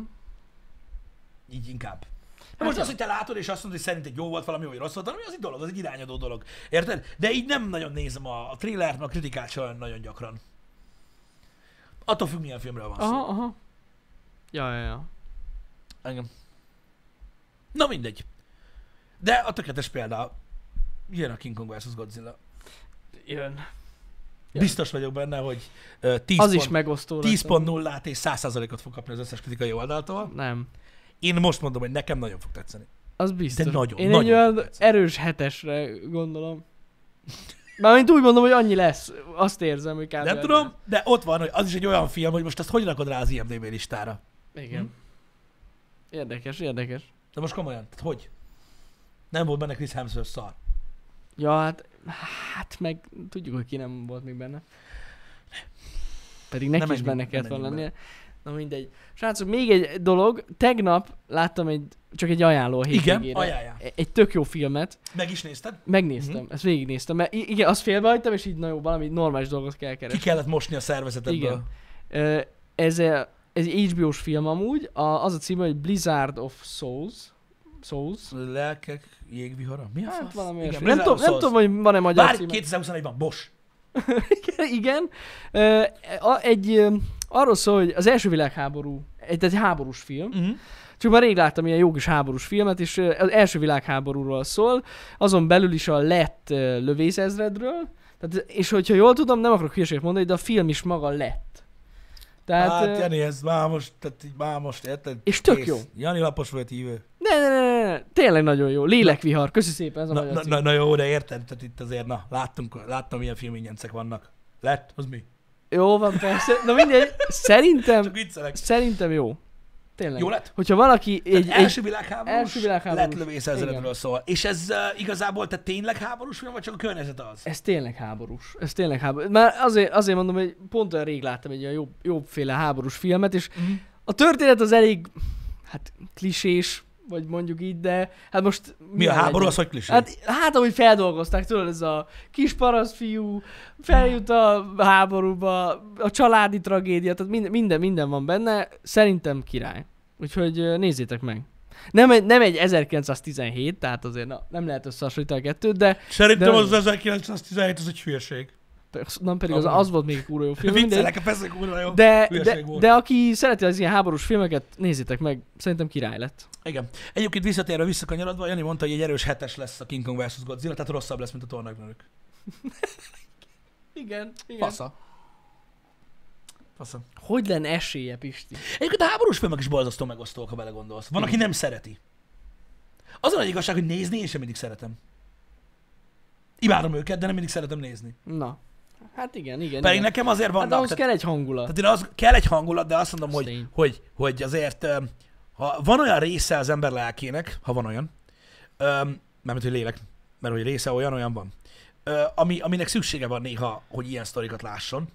Speaker 1: Így inkább. Hát
Speaker 2: Hát
Speaker 1: most
Speaker 2: jó.
Speaker 1: az, hogy te látod, és azt mondod, hogy szerinted jó volt valami, vagy rossz volt valami, az egy dolog, az egy irányadó dolog. Érted? De így nem nagyon nézem a, a thrillert, meg a kritikát sem olyan nagyon gyakran. Attól függ, milyen filmről van szó.
Speaker 2: Aha, aha. Ja, ja, ja.
Speaker 1: Engem. Na mindegy. De a tökéletes példa. Jön a King Kong vs. Godzilla.
Speaker 2: Jön.
Speaker 1: Ja. Biztos vagyok benne, hogy ö, 10
Speaker 2: Az is
Speaker 1: pont,
Speaker 2: megosztó. lesz.
Speaker 1: 10.0-át és 100%-ot fog kapni az összes kritikai oldaltól.
Speaker 2: Nem.
Speaker 1: Én most mondom, hogy nekem nagyon fog tetszeni.
Speaker 2: Az biztos.
Speaker 1: nagyon,
Speaker 2: Én
Speaker 1: nagyon
Speaker 2: egy olyan
Speaker 1: tetszett.
Speaker 2: erős hetesre gondolom. Mármint úgy mondom, hogy annyi lesz. Azt érzem, hogy kb.
Speaker 1: Nem tudom, de ott van, hogy az is egy olyan film, hogy most azt hogy rakod rá az IMDb listára.
Speaker 2: Igen. Érdekes, érdekes.
Speaker 1: De most komolyan, tehát hogy? Nem volt benne Chris Hemsworth szar.
Speaker 2: Ja, hát, hát meg tudjuk, hogy ki nem volt még benne. Pedig neki
Speaker 1: Nem
Speaker 2: is
Speaker 1: menjünk-
Speaker 2: benne
Speaker 1: nem
Speaker 2: kellett volna
Speaker 1: menjünk
Speaker 2: lennie. Na mindegy. Srácok, még egy dolog. Tegnap láttam egy, csak egy ajánló a hétvégére.
Speaker 1: Igen, ajánlja.
Speaker 2: E- Egy tök jó filmet.
Speaker 1: Meg is nézted?
Speaker 2: Megnéztem,
Speaker 1: Mhm.
Speaker 2: mm-hmm. ezt végignéztem. Mert i- igen, azt félbehagytam, és így na jó, valami normális dolgot kell
Speaker 1: Ki
Speaker 2: keresni.
Speaker 1: kellett mosni a szervezetedből.
Speaker 2: Igen. Ö, Ez, a- ez HBO-s film amúgy. A, az a címe, hogy Blizzard of Souls. Souls.
Speaker 1: Lelkek jégvihara? Mi a
Speaker 2: Hát
Speaker 1: fasz?
Speaker 2: valami
Speaker 1: Igen, Szóval
Speaker 2: olyasmi. nem,
Speaker 1: Blizzard
Speaker 2: tudom,
Speaker 1: of
Speaker 2: nem
Speaker 1: Souls.
Speaker 2: tudom, hogy van-e magyar
Speaker 1: Várj,
Speaker 2: címe.
Speaker 1: 2021-ben, Bosch.
Speaker 2: [LAUGHS] Igen. Ö, a- Egy, ö, arról szól, hogy az első világháború, egy, egy háborús film,
Speaker 1: Uh-huh.
Speaker 2: csak már rég láttam ilyen jó kis háborús filmet, és ö, az első világháborúról szól, azon belül is a lett ö, lövészezredről, tehát, és hogyha jól tudom, nem akarok hülyeséget mondani, de a film is maga lett. Tehát,
Speaker 1: Hát, hát
Speaker 2: ö,
Speaker 1: Jani, ez már most, tehát így már most, érted?
Speaker 2: és tök
Speaker 1: Kész.
Speaker 2: jó.
Speaker 1: Jani lapos volt hívő.
Speaker 2: Ne, ne, ne, ne, ne, tényleg nagyon jó. Lélekvihar, köszi szépen, ez a
Speaker 1: Na,
Speaker 2: magyar
Speaker 1: na,
Speaker 2: cím.
Speaker 1: na, na, jó, de érted, tehát itt azért, na, láttunk, láttam, milyen filmingyencek vannak. Lett? Az mi?
Speaker 2: Jó van, persze. Na mindegy, szerintem,
Speaker 1: Csak viccelek.
Speaker 2: szerintem jó. Tényleg.
Speaker 1: Jó lett?
Speaker 2: Hogyha valaki
Speaker 1: Egy,
Speaker 2: egy, egy
Speaker 1: első világháborús,
Speaker 2: első világháborús.
Speaker 1: lett lövész ezredről szól. És ez uh, igazából te tényleg háborús film, vagy csak a környezet az?
Speaker 2: Ez tényleg háborús. Ez tényleg háborús. Már azért, azért mondom, hogy pont olyan rég láttam egy olyan jobb, jobbféle háborús filmet, és
Speaker 1: Mhm.
Speaker 2: a történet az elég, hát klisés, vagy mondjuk így, de hát most...
Speaker 1: Mi a háború, az
Speaker 2: legyen?
Speaker 1: hogy klisé?
Speaker 2: Hát, hát ahogy feldolgozták, tudod, ez a kis paraszt fiú, feljut a háborúba, a családi tragédia, tehát minden, minden, minden van benne, szerintem király. Úgyhogy ö, nézzétek meg. Nem egy, nem egy 1917, tehát azért na, nem lehet összehasonlítani a kettőt, de
Speaker 1: Szerintem
Speaker 2: de-
Speaker 1: az 1917 az egy hülyeség.
Speaker 2: nem pedig az,
Speaker 1: Amúgy.
Speaker 2: az volt még egy kurva jó film. mindegy.
Speaker 1: Viccelek, a persze kurva jó.
Speaker 2: De,
Speaker 1: Hülyeség
Speaker 2: de,
Speaker 1: volt.
Speaker 2: de aki szereti az ilyen háborús filmeket, nézzétek meg, szerintem király lett.
Speaker 1: Igen. Egyébként visszatérve visszakanyarodva, Jani mondta, hogy egy erős hetes lesz a King Kong vs. Godzilla, tehát rosszabb lesz, mint a tornagnők.
Speaker 2: Igen, igen.
Speaker 1: Fasza. Fasza.
Speaker 2: Hogy lenne esélye, Pisti?
Speaker 1: Egyébként a háborús filmek is borzasztó megosztóak, ha belegondolsz. Van, aki nem szereti. Az a nagy igazság, hogy nézni én sem mindig szeretem. Imádom őket, de nem mindig szeretem nézni.
Speaker 2: Na. Hát igen, igen.
Speaker 1: Pedig
Speaker 2: igen.
Speaker 1: nekem azért
Speaker 2: hát
Speaker 1: vannak,
Speaker 2: ahhoz
Speaker 1: tehát,
Speaker 2: kell egy hangulat.
Speaker 1: tehát én az, kell egy hangulat, de azt mondom,
Speaker 2: Az
Speaker 1: hogy,
Speaker 2: tény.
Speaker 1: hogy, hogy azért, öm, ha van olyan része az ember lelkének, ha van olyan, öm, mármint, hogy lélek, mert hogy része olyan, olyan van, ö, ami, aminek szüksége van néha, hogy ilyen sztorikat lásson.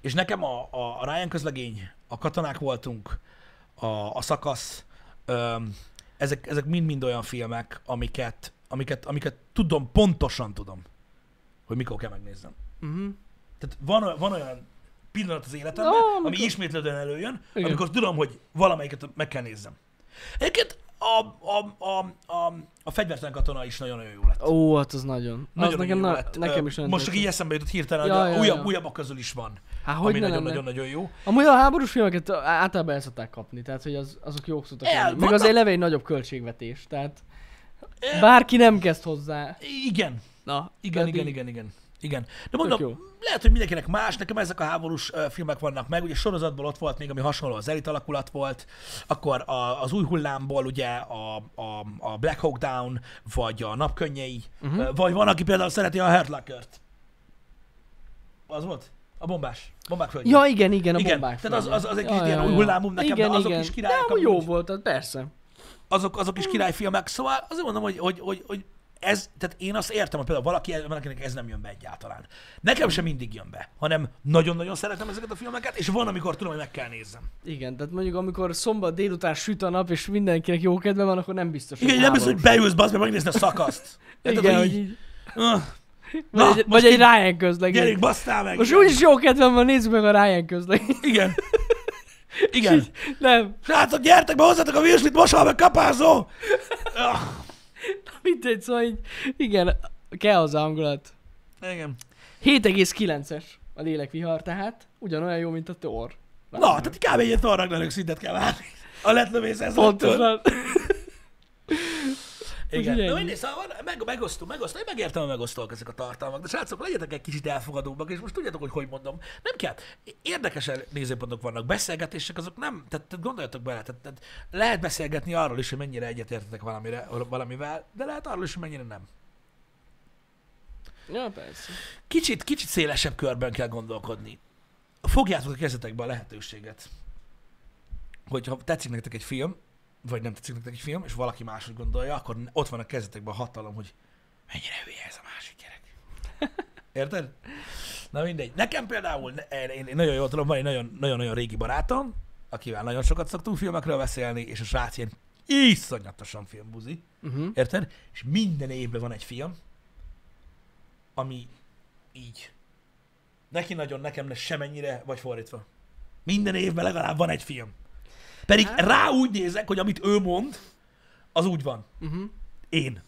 Speaker 1: És nekem a, a, a Ryan közlegény, a katonák voltunk, a, a szakasz, öm, ezek, ezek mind-mind olyan filmek, amiket, amiket, amiket tudom, pontosan tudom, hogy mikor kell megnéznem.
Speaker 2: Uh-huh.
Speaker 1: Tehát van, o- van olyan pillanat az életemben,
Speaker 2: Ó,
Speaker 1: ami
Speaker 2: amikor-
Speaker 1: ismétlődően előjön,
Speaker 2: Igen.
Speaker 1: amikor tudom, hogy valamelyiket meg kell nézzem. Egyébként a, a, a, a, a fegyvertelen katona is nagyon-nagyon jó lett.
Speaker 2: Ó, hát az nagyon.
Speaker 1: Nagyon
Speaker 2: az nekem,
Speaker 1: jó
Speaker 2: na,
Speaker 1: lett.
Speaker 2: nekem
Speaker 1: Ö,
Speaker 2: is nagyon
Speaker 1: Most csak így
Speaker 2: tetszett.
Speaker 1: eszembe jutott hirtelen,
Speaker 2: Ja,
Speaker 1: hogy
Speaker 2: ja,
Speaker 1: a újabb,
Speaker 2: ja.
Speaker 1: újabbak közül is van,
Speaker 2: Há, hogy
Speaker 1: ami
Speaker 2: ne lenne?
Speaker 1: nagyon-nagyon-nagyon jó.
Speaker 2: Amúgy a háborús filmeket ö, á- általában el szokták kapni, tehát hogy az, azok jók szoktak
Speaker 1: El,
Speaker 2: lenni. Meg
Speaker 1: vannak-
Speaker 2: azért leve egy nagyobb költségvetés, tehát
Speaker 1: El.
Speaker 2: bárki nem kezd hozzá.
Speaker 1: Igen,
Speaker 2: Na,
Speaker 1: igen,
Speaker 2: pedig
Speaker 1: igen, igen, igen. Igen. De
Speaker 2: tök
Speaker 1: mondom,
Speaker 2: jó.
Speaker 1: lehet, hogy mindenkinek más, nekem ezek a háborús ö, filmek vannak meg, ugye sorozatból ott volt még, ami hasonló, az elit alakulat volt, akkor a, az új hullámból ugye a, a, a Black Hawk Down, vagy a Napkönnyei,
Speaker 2: Mhm.
Speaker 1: uh-huh. vagy van, aki például szereti a Hurt Locker-t. Az volt? A bombás. Bombák földje.
Speaker 2: Ja, igen, igen, a
Speaker 1: Igen,
Speaker 2: bombák.
Speaker 1: tehát az-
Speaker 2: földje.
Speaker 1: az- az egy kicsit ilyen új hullámú nekem, de azok is királyok,
Speaker 2: De amúgy jó
Speaker 1: amúgy.
Speaker 2: volt, az persze.
Speaker 1: azok, azok is királyfilmek, szóval azért mondom, hogy, hogy, hogy, hogy ez, tehát én azt értem, hogy például valaki, valakinek ez nem jön be egyáltalán. Nekem sem mindig jön be, hanem nagyon-nagyon szeretem ezeket a filmeket, és van, amikor tudom, hogy meg kell nézzem.
Speaker 2: Igen, tehát mondjuk amikor szombat délután süt a nap, és mindenkinek jó kedve van, akkor nem biztos,
Speaker 1: Igen, nem biztos,
Speaker 2: háborús.
Speaker 1: hogy beülsz, bazd meg megnézni a szakaszt. Érted,
Speaker 2: Igen,
Speaker 1: hogy
Speaker 2: hogy
Speaker 1: így,
Speaker 2: így.
Speaker 1: öh, Na,
Speaker 2: Vagy,
Speaker 1: most
Speaker 2: egy, vagy egy
Speaker 1: így-
Speaker 2: Ryan közlegény.
Speaker 1: gyerünk, basszál meg!
Speaker 2: Most úgyis jó kedvem van, nézzük meg a Ryan közlegényt.
Speaker 1: Igen. Igen.
Speaker 2: [LAUGHS] Nem,
Speaker 1: Srácok, gyertek be hozzátok a virslit, mosal meg kapázó! Öh,
Speaker 2: mindegy, szóval így, igen, kell az a hangulat.
Speaker 1: Igen.
Speaker 2: 7,9-es a lélekvihar, tehát ugyanolyan jó, mint a Thor.
Speaker 1: Na, tehát kb. egy ilyen Thor Ragnarök szintet kell várni. A letlövész ez
Speaker 2: Pontosan.
Speaker 1: Igen.
Speaker 2: Úgyhogy
Speaker 1: Na,
Speaker 2: ennyi.
Speaker 1: mindegy, szóval van- meg, megosztunk, megosztunk, én megértem, hogy megosztóak ezek a tartalmak, de srácok, legyetek egy kicsit elfogadóbbak, és most tudjátok, hogy hogy mondom. Nem kell. Érdekes nézőpontok vannak, beszélgetések azok nem, tehát, tehát gondoljatok bele, tehát, tehát, lehet beszélgetni arról is, hogy mennyire egyetértetek valamire, valamivel, de lehet arról is, hogy mennyire nem.
Speaker 2: Ja, persze.
Speaker 1: Kicsit, kicsit szélesebb körben kell gondolkodni. Fogjátok a kezetekbe a lehetőséget. Hogyha tetszik nektek egy film, vagy nem tetszik nektek egy film, és valaki máshogy gondolja, akkor ott van a kezetekben a hatalom, hogy mennyire hülye ez a másik gyerek. Érted? Na mindegy. Nekem például, ne- én, én nagyon jól tudom, van egy nagyon- nagyon-nagyon régi barátom, akivel nagyon sokat szoktunk filmekről beszélni, és a srác ilyen iszonyatosan filmbuzi.
Speaker 2: Uh-huh.
Speaker 1: Érted? És minden évben van egy film, ami így. Neki nagyon, nekem ne semennyire, vagy fordítva. Minden évben legalább van egy film. Pedig
Speaker 2: Hát.
Speaker 1: rá úgy nézek, hogy amit ő mond, az úgy van.
Speaker 2: Uh-huh.
Speaker 1: Én.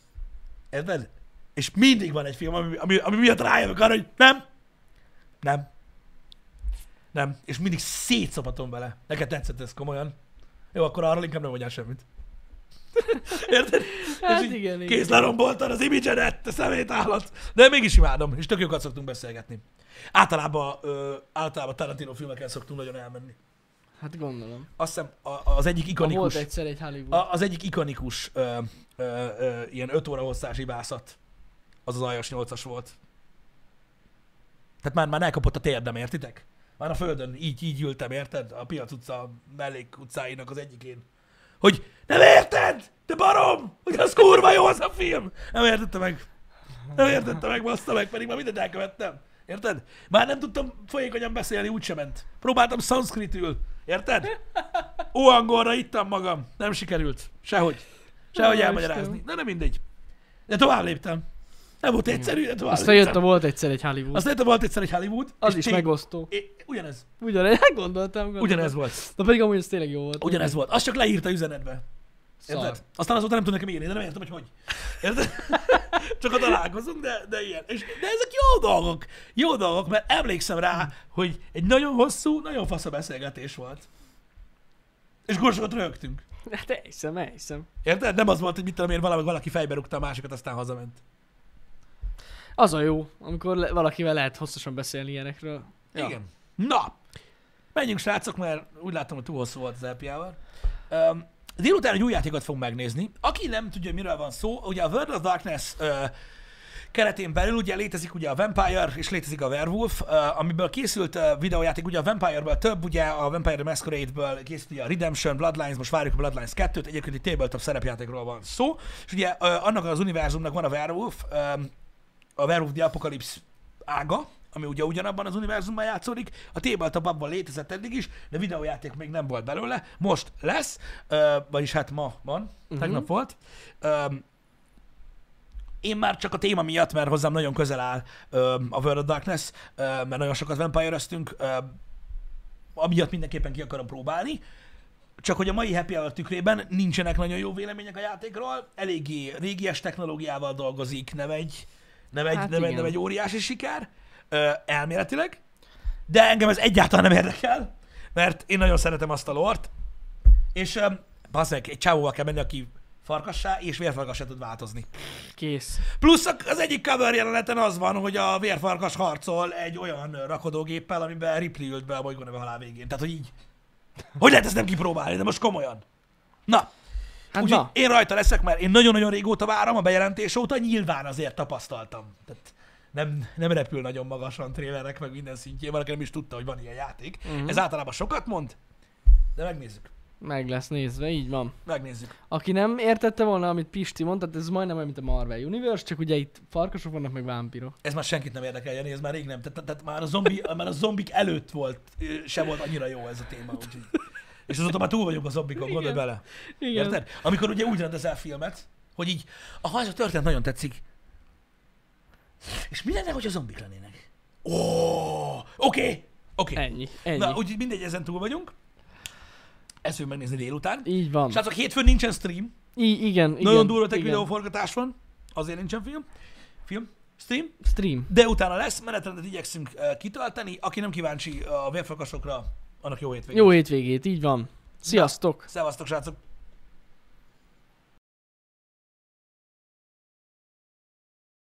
Speaker 1: Érted? És mindig van egy film, ami, ami, ami miatt rájövök arra, hogy nem, nem, nem. És mindig szétszapatom vele. Neked tetszett ez komolyan? Jó, akkor arról inkább nem mondjál semmit. [LAUGHS] Érted?
Speaker 2: Hát
Speaker 1: És így
Speaker 2: igen, igen.
Speaker 1: Kész leromboltad az imidzsedet, te szemétállat! De mégis imádom, és tök jókat szoktunk beszélgetni. Általában, ö, általában Tarantino filmeken szoktunk nagyon elmenni.
Speaker 2: Hát gondolom.
Speaker 1: Azt hiszem a- az egyik
Speaker 2: Ha volt
Speaker 1: ikonikus,
Speaker 2: egyszer egy Hollywood.
Speaker 1: a, az egyik ikonikus ö, ö, ö, ilyen 5 óra hosszás ibászat, az az aljas 8-as volt. Tehát már, már elkapott a térdem, értitek? Már a földön így, így ültem, érted? A Piac utca mellék utcáinak az egyikén. Hogy nem érted? Te barom! Hogy az kurva jó az a film! Nem értette meg. Nem értette meg, bassza meg, pedig már mindent elkövettem. Érted? Már nem tudtam folyékonyan beszélni, úgysem ment. Próbáltam szanszkritül. Érted? Óangolra ittam magam. Nem sikerült. Sehogy. Sehogy
Speaker 2: Ó,
Speaker 1: elmagyarázni.
Speaker 2: Istenem.
Speaker 1: De nem mindegy. De tovább léptem. Nem volt egyszerű, de tovább
Speaker 2: Aztán jött a
Speaker 1: léptem.
Speaker 2: volt egyszer egy Hollywood.
Speaker 1: Aztán jött a volt egyszer egy Hollywood.
Speaker 2: Az
Speaker 1: és
Speaker 2: is
Speaker 1: tény-
Speaker 2: megosztó.
Speaker 1: É, ugyanez.
Speaker 2: Ugyanez, [LAUGHS] hát gondoltam, gondoltam.
Speaker 1: Ugyanez volt.
Speaker 2: Na pedig amúgy ez tényleg jó volt.
Speaker 1: Ugyanez volt. Azt csak leírta üzenetbe.
Speaker 2: Szar.
Speaker 1: Érted? Aztán azóta nem tud nekem írni, de nem értem, hogy hogy. Érted? [LAUGHS] Csak a találkozunk, de, de ilyen. És, de ezek jó dolgok. Jó dolgok, mert emlékszem rá, hogy egy nagyon hosszú, nagyon fasz a beszélgetés volt. És gorsokat rögtünk.
Speaker 2: Hát elhiszem, elhiszem.
Speaker 1: Érted? Nem az volt, hogy mit tudom én, valami, valaki fejbe rúgta a másikat, aztán hazament.
Speaker 2: Az a jó, amikor le- valakivel lehet hosszasan beszélni ilyenekről.
Speaker 1: Ja. Igen. Na, menjünk srácok, mert úgy látom, hogy túl hosszú volt az LPA-val. Um, délután egy új játékot fogunk megnézni. Aki nem tudja, hogy miről van szó, ugye a World of Darkness uh, keretén belül ugye létezik ugye a Vampire és létezik a Werewolf, uh, amiből készült uh, videójáték, ugye a Vampire-ből több, ugye a Vampire the Masquerade-ből készült ugye a Redemption, Bloodlines, most várjuk a Bloodlines 2-t, egyébként egy tabletop szerepjátékról van szó, és ugye uh, annak az univerzumnak van a Werewolf, um, a Werewolf the Apocalypse ága, ami ugye ugyanabban az univerzumban játszódik, a tabletop abban létezett eddig is, de videójáték még nem volt belőle, most lesz, ö, vagyis hát ma van, uh-huh. tegnap volt. Öm, én már csak a téma miatt, mert hozzám nagyon közel áll öm, a World of Darkness, öm, mert nagyon sokat vampire amiatt mindenképpen ki akarom próbálni. Csak hogy a mai happy hour tükrében nincsenek nagyon jó vélemények a játékról, eléggé régies technológiával dolgozik, nem egy, nem egy,
Speaker 2: Hát
Speaker 1: hát nem, egy,
Speaker 2: igen.
Speaker 1: nem egy óriási siker, ö, elméletileg, de engem ez egyáltalán nem érdekel, mert én nagyon szeretem azt a lort, és öm, bassz meg, egy csávóval kell menni, aki farkassá és vérfarkassá tud változni.
Speaker 2: Kész.
Speaker 1: Plusz a- az egyik cover jeleneten az van, hogy a vérfarkas harcol egy olyan rakodógéppel, amiben Ripley ült be a bolygó neve halál végén. Tehát, hogy így. Hogy lehet ezt nem kipróbálni, de most komolyan. Na,
Speaker 2: Hát
Speaker 1: úgyhogy
Speaker 2: na,
Speaker 1: én rajta leszek, mert én nagyon-nagyon régóta várom a bejelentés óta, nyilván azért tapasztaltam. Tehát nem, nem repül nagyon magasan trélerek, meg minden szintjén, valaki nem is tudta, hogy van ilyen játék.
Speaker 2: Mhm.
Speaker 1: Uh-huh. Ez általában sokat mond, de megnézzük.
Speaker 2: meg lesz nézve, így van.
Speaker 1: Megnézzük.
Speaker 2: Aki nem értette volna, amit Pisti mondta, tehát ez majdnem olyan, mint a Marvel Universe, csak ugye itt farkasok vannak, meg vámpírok.
Speaker 1: Ez már senkit nem érdekel, Jani, ez már rég nem. Tehát, tehát- tehát már, a zombi, már a zombik előtt volt, ö, se volt annyira jó ez a téma. Úgyhogy. És azóta már túl vagyunk a zombikon, gondolj
Speaker 2: Igen.
Speaker 1: bele.
Speaker 2: Igen.
Speaker 1: Érted? Amikor ugye úgy rendezel filmet, hogy így, aha, ez a történet nagyon tetszik. És mi lenne, hogy a zombik lennének? Ó, oké, oké.
Speaker 2: Ennyi, ennyi.
Speaker 1: Na, úgyhogy mindegy, ezen túl vagyunk. Ezt fogjuk megnézni délután.
Speaker 2: Így van.
Speaker 1: Srácok, hétfőn nincsen stream.
Speaker 2: I- igen, igen.
Speaker 1: Nagyon durva tek
Speaker 2: igen.
Speaker 1: videóforgatás van. Azért nincsen film. Film. Stream.
Speaker 2: Stream.
Speaker 1: De utána lesz, menetrendet igyekszünk uh, kitölteni. Aki nem kíváncsi a vérfakasokra, annak jó hétvégét.
Speaker 2: Jó hétvégét, így van. Sziasztok!
Speaker 1: Szevasztok, srácok!